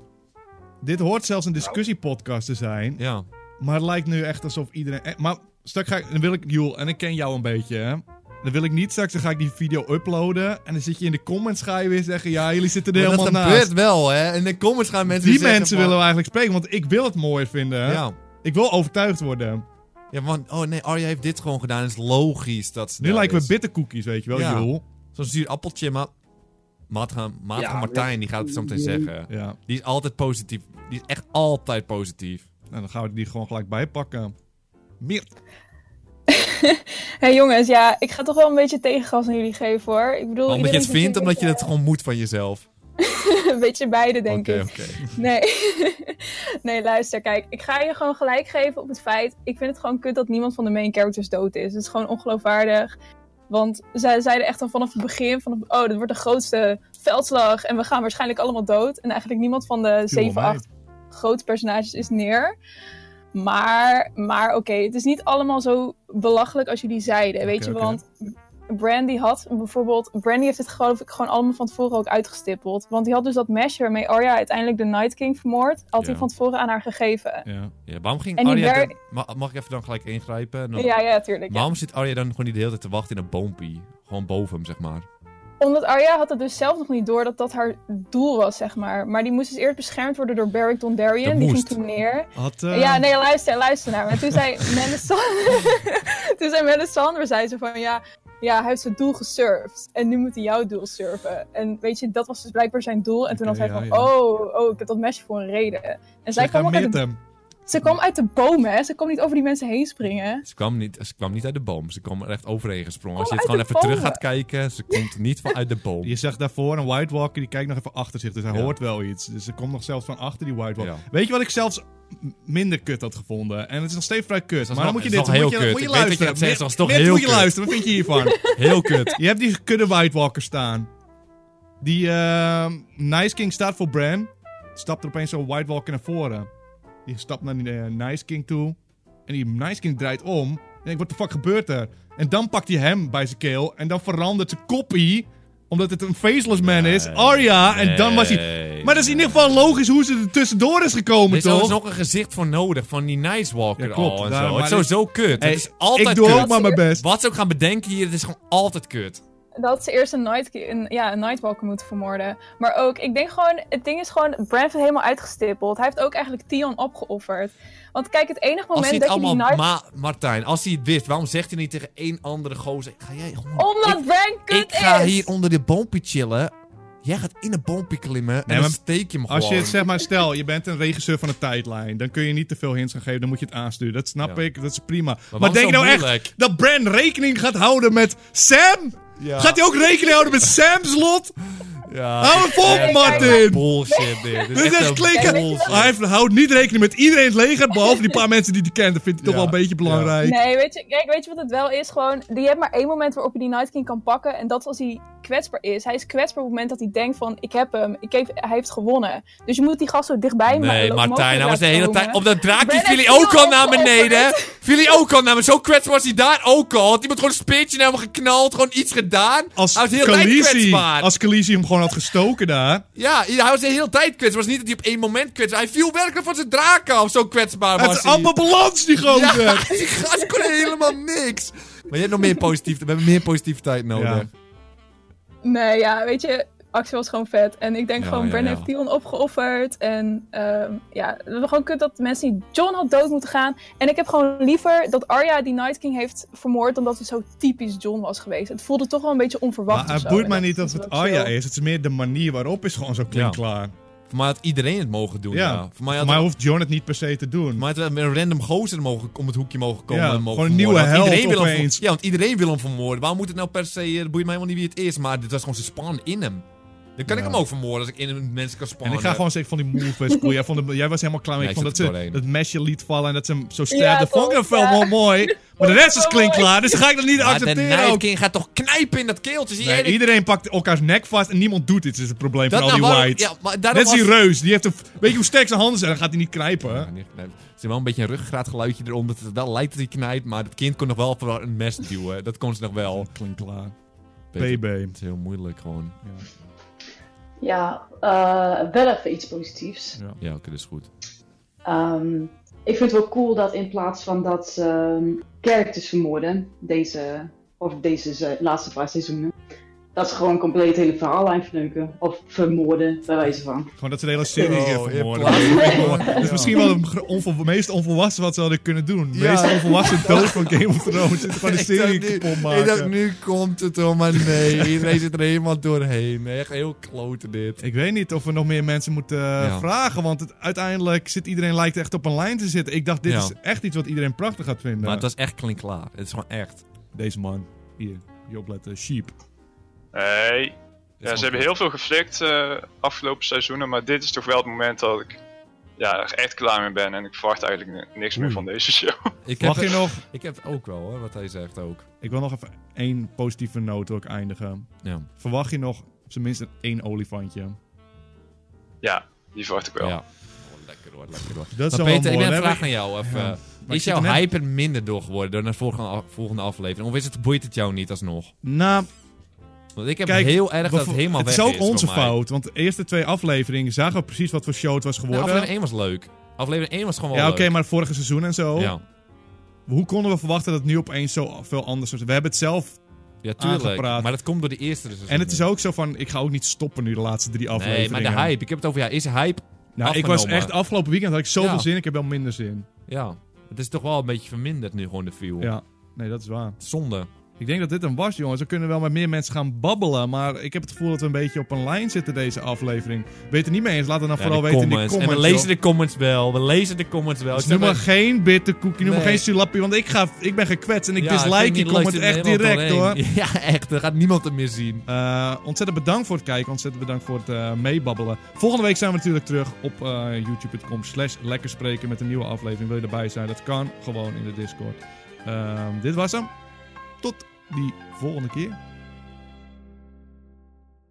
S1: Dit hoort zelfs een discussiepodcast te zijn.
S2: Ja.
S1: Maar het lijkt nu echt alsof iedereen. eh, Maar straks ga ik. Dan wil ik, Joel, en ik ken jou een beetje, hè? Dan wil ik niet straks, dan ga ik die video uploaden. En dan zit je in de comments, ga je weer zeggen: Ja, jullie zitten er
S2: Maar dat
S1: helemaal
S2: gebeurt
S1: naast.
S2: wel, hè. In de comments gaan mensen
S1: Die
S2: zeggen
S1: mensen
S2: van-
S1: willen we eigenlijk spreken, want ik wil het mooi vinden. hè.
S2: Ja.
S1: Ik wil overtuigd worden.
S2: Ja, want, oh nee, Arya heeft dit gewoon gedaan. Het is logisch dat ze
S1: Nu
S2: daar
S1: lijken
S2: is.
S1: we bitterkoekjes, weet je wel,
S2: Ja.
S1: Joel.
S2: Zo'n zuur appeltje, maar... Maat gaan, maat
S8: Ja,
S2: gaan Martijn, die gaat het zo meteen zeggen.
S1: Ja.
S2: Die is altijd positief. Die is echt altijd positief.
S9: Oh,
S1: Nou, dan gaan we die gewoon gelijk bijpakken. Meer.
S9: Hé jongens, ja, ik ga toch wel een beetje tegengas aan jullie geven hoor. Ik bedoel,
S2: omdat je
S9: iedereen
S2: het
S9: zit
S2: vindt,
S9: hier
S2: omdat je
S9: een
S2: het gewoon moet van jezelf.
S9: beetje- *laughs* Een beetje beide, denk
S2: Oké,
S9: ik.
S2: oké.
S9: Nee. *laughs* nee, luister, kijk. Ik ga je gewoon gelijk geven op het feit... Ik vind het gewoon kut dat niemand van de main characters dood is. Het is gewoon ongeloofwaardig. Want zij zeiden echt al vanaf het begin... Van, oh, dit wordt de grootste veldslag... en we gaan waarschijnlijk allemaal dood. En eigenlijk niemand van de zeven,
S1: mij.
S9: acht grote personages is neer. Maar, maar oké, het is niet allemaal zo belachelijk als jullie zeiden, weet
S1: Oké,
S9: je.
S1: oké.
S9: Want Brandy had bijvoorbeeld... Brandy heeft het geloof ik gewoon allemaal van tevoren ook uitgestippeld. Want die had dus dat mesje waarmee Arya uiteindelijk de Night King vermoord... had hij
S2: Ja.
S9: van tevoren aan haar gegeven.
S1: Ja.
S2: Ja, waarom ging
S9: En die
S2: Arya...
S9: wer-
S2: dan- Ma- mag ik even dan gelijk ingrijpen? Dan-
S9: Ja, ja, tuurlijk. ja.
S2: Waarom zit Arya dan gewoon niet de hele tijd te wachten in een boompie? Gewoon boven hem, zeg maar.
S9: Omdat Arya had het dus zelf nog niet door dat dat haar doel was, zeg maar. Maar die moest dus eerst beschermd worden door Beric Dondarrion.
S2: Dat
S9: Die ging
S2: moest.
S9: toen neer.
S1: Had, eh,
S9: Ja, nee, luister, luister naar me. Toen
S2: *laughs*
S9: zei Melisandre, *laughs* toen zei Melisandre, zei ze van ja, ja, hij heeft zijn doel gesurfd en nu moet hij jouw doel surfen. En weet je, dat was dus blijkbaar zijn doel. En toen
S1: Oké,
S9: had hij
S1: ja,
S9: van,
S1: ja.
S9: oh, oh, ik heb dat mesje voor een reden. En zij
S1: zeg eh,
S9: kwam
S1: maar
S9: ook uit de,
S1: Mirtem.
S9: ze kwam uit de bomen, hè. Ze kwam niet over die mensen heen springen.
S2: Ze kwam niet, ze kwam niet uit de boom. Ze kwam er echt overheen gesprongen. Als je
S9: Kom
S2: het gewoon
S9: uit
S2: even
S9: de
S2: terug
S9: bomen.
S2: gaat kijken, ze komt niet van uit de
S1: *laughs*
S2: boom.
S1: Je zegt daarvoor een White Walker, die kijkt nog even achter zich. Dus hij
S2: Ja.
S1: hoort wel iets. Dus er komt nog zelfs van achter die White Walker.
S2: Ja.
S1: Weet je wat ik zelfs m- minder kut had gevonden? En het is nog steeds vrij kut.
S2: is
S1: maar dan
S2: nog-
S1: moet je
S2: het
S1: dit
S2: is nog
S1: moet
S2: heel
S1: je,
S2: kut.
S1: Moet je
S2: Ik weet dat je
S1: luisteren.
S2: het zegt, het is toch
S1: Mirt,
S2: heel
S1: moet je
S2: kut.
S1: luisteren. Wat vind je
S2: *laughs*
S1: hiervan?
S2: Heel kut.
S1: je hebt die kudde White Walker staan. Die ehm, Nice King staat voor Bran. Stapt er opeens zo'n White Walker naar voren. Die stapt naar die eh, Nice King toe. En die Nice King draait om. En denkt, wat de fuck gebeurt er? En dan pakt hij hem bij zijn keel. En dan verandert zijn koppie. Omdat het een faceless man is.
S2: Nee.
S1: Arya. En dan was hij...
S2: Nee.
S1: Maar dat is in ieder geval logisch hoe ze er tussendoor is
S2: Er
S1: gekomen, toch?
S2: is trouwens nog een gezicht voor nodig, van die Nice Walker
S1: Ja, klopt.
S2: al en
S1: Daarom,
S2: zo.
S1: maar dus-
S2: Het is sowieso kut.
S1: Hey,
S2: het is altijd
S1: ik doe
S2: kut.
S1: ook maar mijn best.
S2: Wat ze ook gaan bedenken hier, het is gewoon altijd kut.
S9: Dat ze eerst een, night, een, ja, een Nightwalker moeten vermoorden. Maar ook, ik denk gewoon, het ding is gewoon, Bran heeft helemaal uitgestippeld. Hij heeft ook eigenlijk Tion opgeofferd. Want kijk, het enige
S2: Als hij
S9: moment
S2: het
S9: dat je die
S2: allemaal...
S9: Night...
S2: Ma Martijn, als hij het wist, waarom zegt hij niet tegen één andere gozer... Ga jij gewoon...
S9: Omdat
S2: ik,
S9: Bran Oh, kut
S2: ik ga
S9: is!
S2: hier onder de boompie chillen. Jij gaat in de boompie klimmen en
S1: Nee,
S2: dan
S1: maar
S2: steek je hem
S1: Als je
S2: gewoon.
S1: het zeg maar, stel, je bent een regisseur van een tijdlijn. Dan kun je niet te veel hints gaan geven. Dan moet je het aansturen. Dat snap
S2: Ja.
S1: ik. Dat is prima. Maar,
S2: waarom
S1: denk je
S2: zo
S1: nou
S2: moeilijk?
S1: echt dat Bran rekening gaat houden met Sam? Gaat hij ook rekening houden met Sam's lot?
S2: Ja.
S1: Hou hem vol,
S2: Echt
S1: Martin!
S2: Bullshit dit.
S1: Dit is echt klikken.
S9: Ja, weet je wat?
S1: Hij heeft- houdt niet rekening met iedereen in het leger. Behalve die paar mensen die hij kent. Dat vindt hij toch
S2: Oh. Ja.
S1: wel een beetje belangrijk.
S9: Nee, weet je, kijk, weet je wat het wel is? Gewoon, je hebt maar één moment waarop je die Night King kan pakken. En dat is als hij kwetsbaar is. Hij is kwetsbaar op het moment dat hij denkt van, ik heb hem. Ik heb, hij heeft gewonnen. Dus je moet die gast zo dichtbij ma-
S2: Nee,
S9: mogelijk
S2: Martijn, nou was de
S9: laten
S2: hele
S9: komen.
S2: tijd. Op dat draakje
S9: Ben
S2: viel hij
S9: echt
S2: ook al naar
S9: heel
S2: beneden.
S9: opgeofferd.
S2: Viel hij ook al naar beneden. Zo kwetsbaar was hij daar ook al. Had iemand gewoon een speertje naar hem geknald. Gewoon iets gedaan.
S1: Als
S2: hij was de hele tijd
S1: Khaleesi,
S2: kwetsbaar.
S1: als Khaleesi hem gewoon had gestoken daar.
S2: Ja, hij was de hele tijd kwetsbaar. Het was niet dat hij op één moment kwetsbaar Hij viel werkelijk van zijn draak af. Zo kwetsbaar
S1: Hij
S2: was
S1: heeft
S2: hij.
S1: een amper balans, die gozer.
S2: *laughs* Ja,
S1: *laughs*
S2: die gast kon helemaal niks. Maar je hebt nog meer positief, we hebben meer positiviteit nodig.
S1: Ja.
S9: Nee, ja, weet je... actie was gewoon vet. En ik denk
S2: Ja,
S9: gewoon,
S2: ja,
S9: Bran
S2: ja.
S9: heeft Theon opgeofferd. En ehm, ja, we hebben gewoon kut dat de mensen niet... John had dood moeten gaan. En ik heb gewoon liever dat Arya die Night King heeft vermoord... dan dat het zo typisch John was geweest. Het voelde toch wel een beetje onverwacht
S1: Maar het
S9: of zo.
S1: boeit
S9: En
S1: mij
S9: oh, dat
S1: niet of
S9: is
S1: het
S9: wel
S1: Arya
S9: chill.
S1: is. Het is meer de manier waarop is gewoon zo
S2: Ja.
S1: klinkklaar. klaar.
S2: Maar had iedereen het mogen doen.
S1: Ja.
S2: Ja. Voor mij had
S1: Voor mij hoeft John het niet per se te doen.
S2: maar het wel met een random gozer mogen, om het hoekje mogen komen.
S1: Ja,
S2: en mogen
S1: gewoon een nieuwe
S2: vermoorden. Want
S1: held
S2: iedereen wil hem ver-
S1: opeens.
S2: Ja, want iedereen wil hem vermoorden. Waarom moet het nou per se... eh, Het boeit mij helemaal niet wie het is. Maar dit was gewoon zijn span in hem. Dan kan
S1: Ja.
S2: ik hem ook vermoorden als ik in een mens kan spannen.
S1: en ik ga gewoon zeggen van die move was cool. Jij, vond hem- jij was helemaal klaar mee.
S2: Ja,
S1: ik
S2: ik
S1: vond dat
S2: zat er
S1: ze
S2: doorheen.
S1: dat mesje liet vallen en dat ze hem zo stabde.
S9: Ja,
S1: vond ik dat
S9: toch,
S1: wel
S9: ja.
S1: wel
S9: *laughs*
S1: mooi. Maar de rest is klinkklaar, dus dan ga ik dat niet
S2: Maar de
S1: accepteren
S2: Night
S1: ook.
S2: King gaat toch knijpen in dat keeltje. Zie
S1: Nee,
S2: je?
S1: iedereen pakt elkaars nek vast en niemand doet dit. Dit is het probleem van al die
S2: nou waarom-
S1: whites.
S2: Ja, maar daarom
S1: Net als die
S2: was-
S1: reus. Die heeft een, weet je hoe sterk zijn handen zijn? Dan gaat hij niet knijpen. hè?
S2: Ja, niet geknijpt. Er zit wel een beetje een ruggraatgeluidje eronder. Dat het wel lijkt dat hij knijpt, maar het kind kon nog wel voor een mes duwen. Dat kon ze nog wel.
S1: Klinkklaar.
S2: Peter,
S1: BB.
S2: Het is heel moeilijk gewoon.
S10: Ja, eh, wel even iets positiefs.
S2: Ja, oké, dat is goed.
S10: Ehm, ik vind het wel cool dat in plaats van dat ze ehm, characters vermoorden, deze, of deze se- laatste vijf seizoenen, dat ze gewoon compleet hele verhaallijn verneuken. Of vermoorden, bij wijze van.
S1: Gewoon dat ze de hele serie
S2: Oh,
S1: oh,
S2: in
S1: vermoorden.
S2: plaats
S1: *laughs*
S2: van-
S1: Dat is
S2: Ja.
S1: misschien wel het gro- onvol- meest onvolwassen wat ze hadden kunnen doen. De
S2: Ja.
S1: meest onvolwassen dood van Game of
S2: *laughs*
S1: Thrones. Zit gewoon de
S2: Ik dacht
S1: serie
S2: nu-
S1: kapot
S2: Ik dacht,
S1: maken.
S2: nu komt het hoor, maar nee. Iedereen zit er helemaal doorheen. Echt heel klote dit.
S1: Ik weet niet of we nog meer mensen moeten eh,
S2: Ja.
S1: vragen. Want het, uiteindelijk zit iedereen lijkt echt op een lijn te zitten. Ik dacht, dit
S2: Ja.
S1: is echt iets wat iedereen prachtig gaat vinden.
S2: Maar het was echt klinkklaar. Het is gewoon echt.
S1: Deze man. Hier, hier opletten. eh, Sheep.
S11: Nee. Ja, ze hebben heel veel geflikt eh, afgelopen seizoenen, maar dit is toch wel het moment dat ik ja, er echt klaar mee ben en ik verwacht eigenlijk ni- niks meer
S1: Oei.
S11: van deze show.
S2: Ik heb,
S1: Mag je nog...
S2: ik heb het ook wel hoor, wat hij zegt ook.
S1: Ik wil nog even één positieve noot ook eindigen.
S2: Ja.
S1: Verwacht je nog op zijn minst één olifantje?
S11: Ja, die verwacht ik wel.
S2: Ja. Oh, lekker hoor, lekker hoor.
S1: Dat is
S2: maar
S1: wel
S2: Peter, ik
S1: mooi.
S2: ben een
S1: Dan heb
S2: vraag naar jou. Even.
S1: Ja. Maar ik
S2: Is
S1: zit er
S2: jouw
S1: net-
S2: hype er minder door geworden door naar de volgende, af- volgende aflevering? Of is het, boeit het jou niet alsnog?
S1: Nou,
S2: Want ik heb
S1: Kijk,
S2: heel erg dat
S1: we-
S2: het helemaal
S1: het
S2: weg
S1: is
S2: is
S1: ook onze
S2: voor mij.
S1: fout. Want de eerste twee afleveringen zagen we precies wat voor show het was
S2: Nou,
S1: geworden.
S2: aflevering 1 was leuk. Aflevering 1 was gewoon wel
S1: ja, oké,
S2: leuk.
S1: maar vorige seizoen en zo.
S2: Ja,
S1: Hoe konden we verwachten dat het nu opeens zo veel anders was? We hebben het zelf.
S2: ja tuurlijk.
S1: Aangepraat.
S2: Maar dat komt door de eerste seizoen.
S1: En het is ook zo van, ik ga ook niet stoppen nu de laatste drie
S2: Nee,
S1: afleveringen.
S2: maar de hype. Ik heb het over, ja, is hype...
S1: Nou, ik was
S2: afgenomen.
S1: echt afgelopen weekend had ik zoveel
S2: Ja.
S1: zin. Ik heb wel minder zin.
S2: Ja, het is toch wel een beetje verminderd nu gewoon de feel.
S1: Ja. Nee, dat is waar.
S2: Zonde.
S1: Ik denk dat dit een was, jongens. We kunnen wel met meer mensen gaan babbelen. Maar ik heb het gevoel dat we een beetje op een lijn zitten deze aflevering. Weet het niet mee eens? Laat het dan
S2: Ja,
S1: vooral
S2: de
S1: weten in
S2: comments.
S1: de
S2: En
S1: comments.
S2: we
S1: joh.
S2: lezen de comments wel. We lezen de comments wel.
S1: Dus
S2: Ik
S1: noem
S2: zeg
S1: maar
S2: maar-
S1: geen bitterkoekje, noem maar
S2: Nee.
S1: geen sulappie, want ik, ga, ik ben gekwetst en ik
S2: Ja, vind
S1: dislike
S2: niet
S1: die
S2: leuk,
S1: comment
S2: zit
S1: echt
S2: helemaal
S1: direct hoor.
S2: doorheen. *laughs* Ja, echt. Er gaat niemand er meer zien.
S1: Eh, ontzettend bedankt voor het kijken, ontzettend bedankt voor het eh, meebabbelen. Volgende week zijn we natuurlijk terug op eh, youtube.com slash lekker spreken met een nieuwe aflevering. Wil je erbij zijn? Dat kan gewoon in de Discord. Ehm, dit was hem. Tot die volgende keer.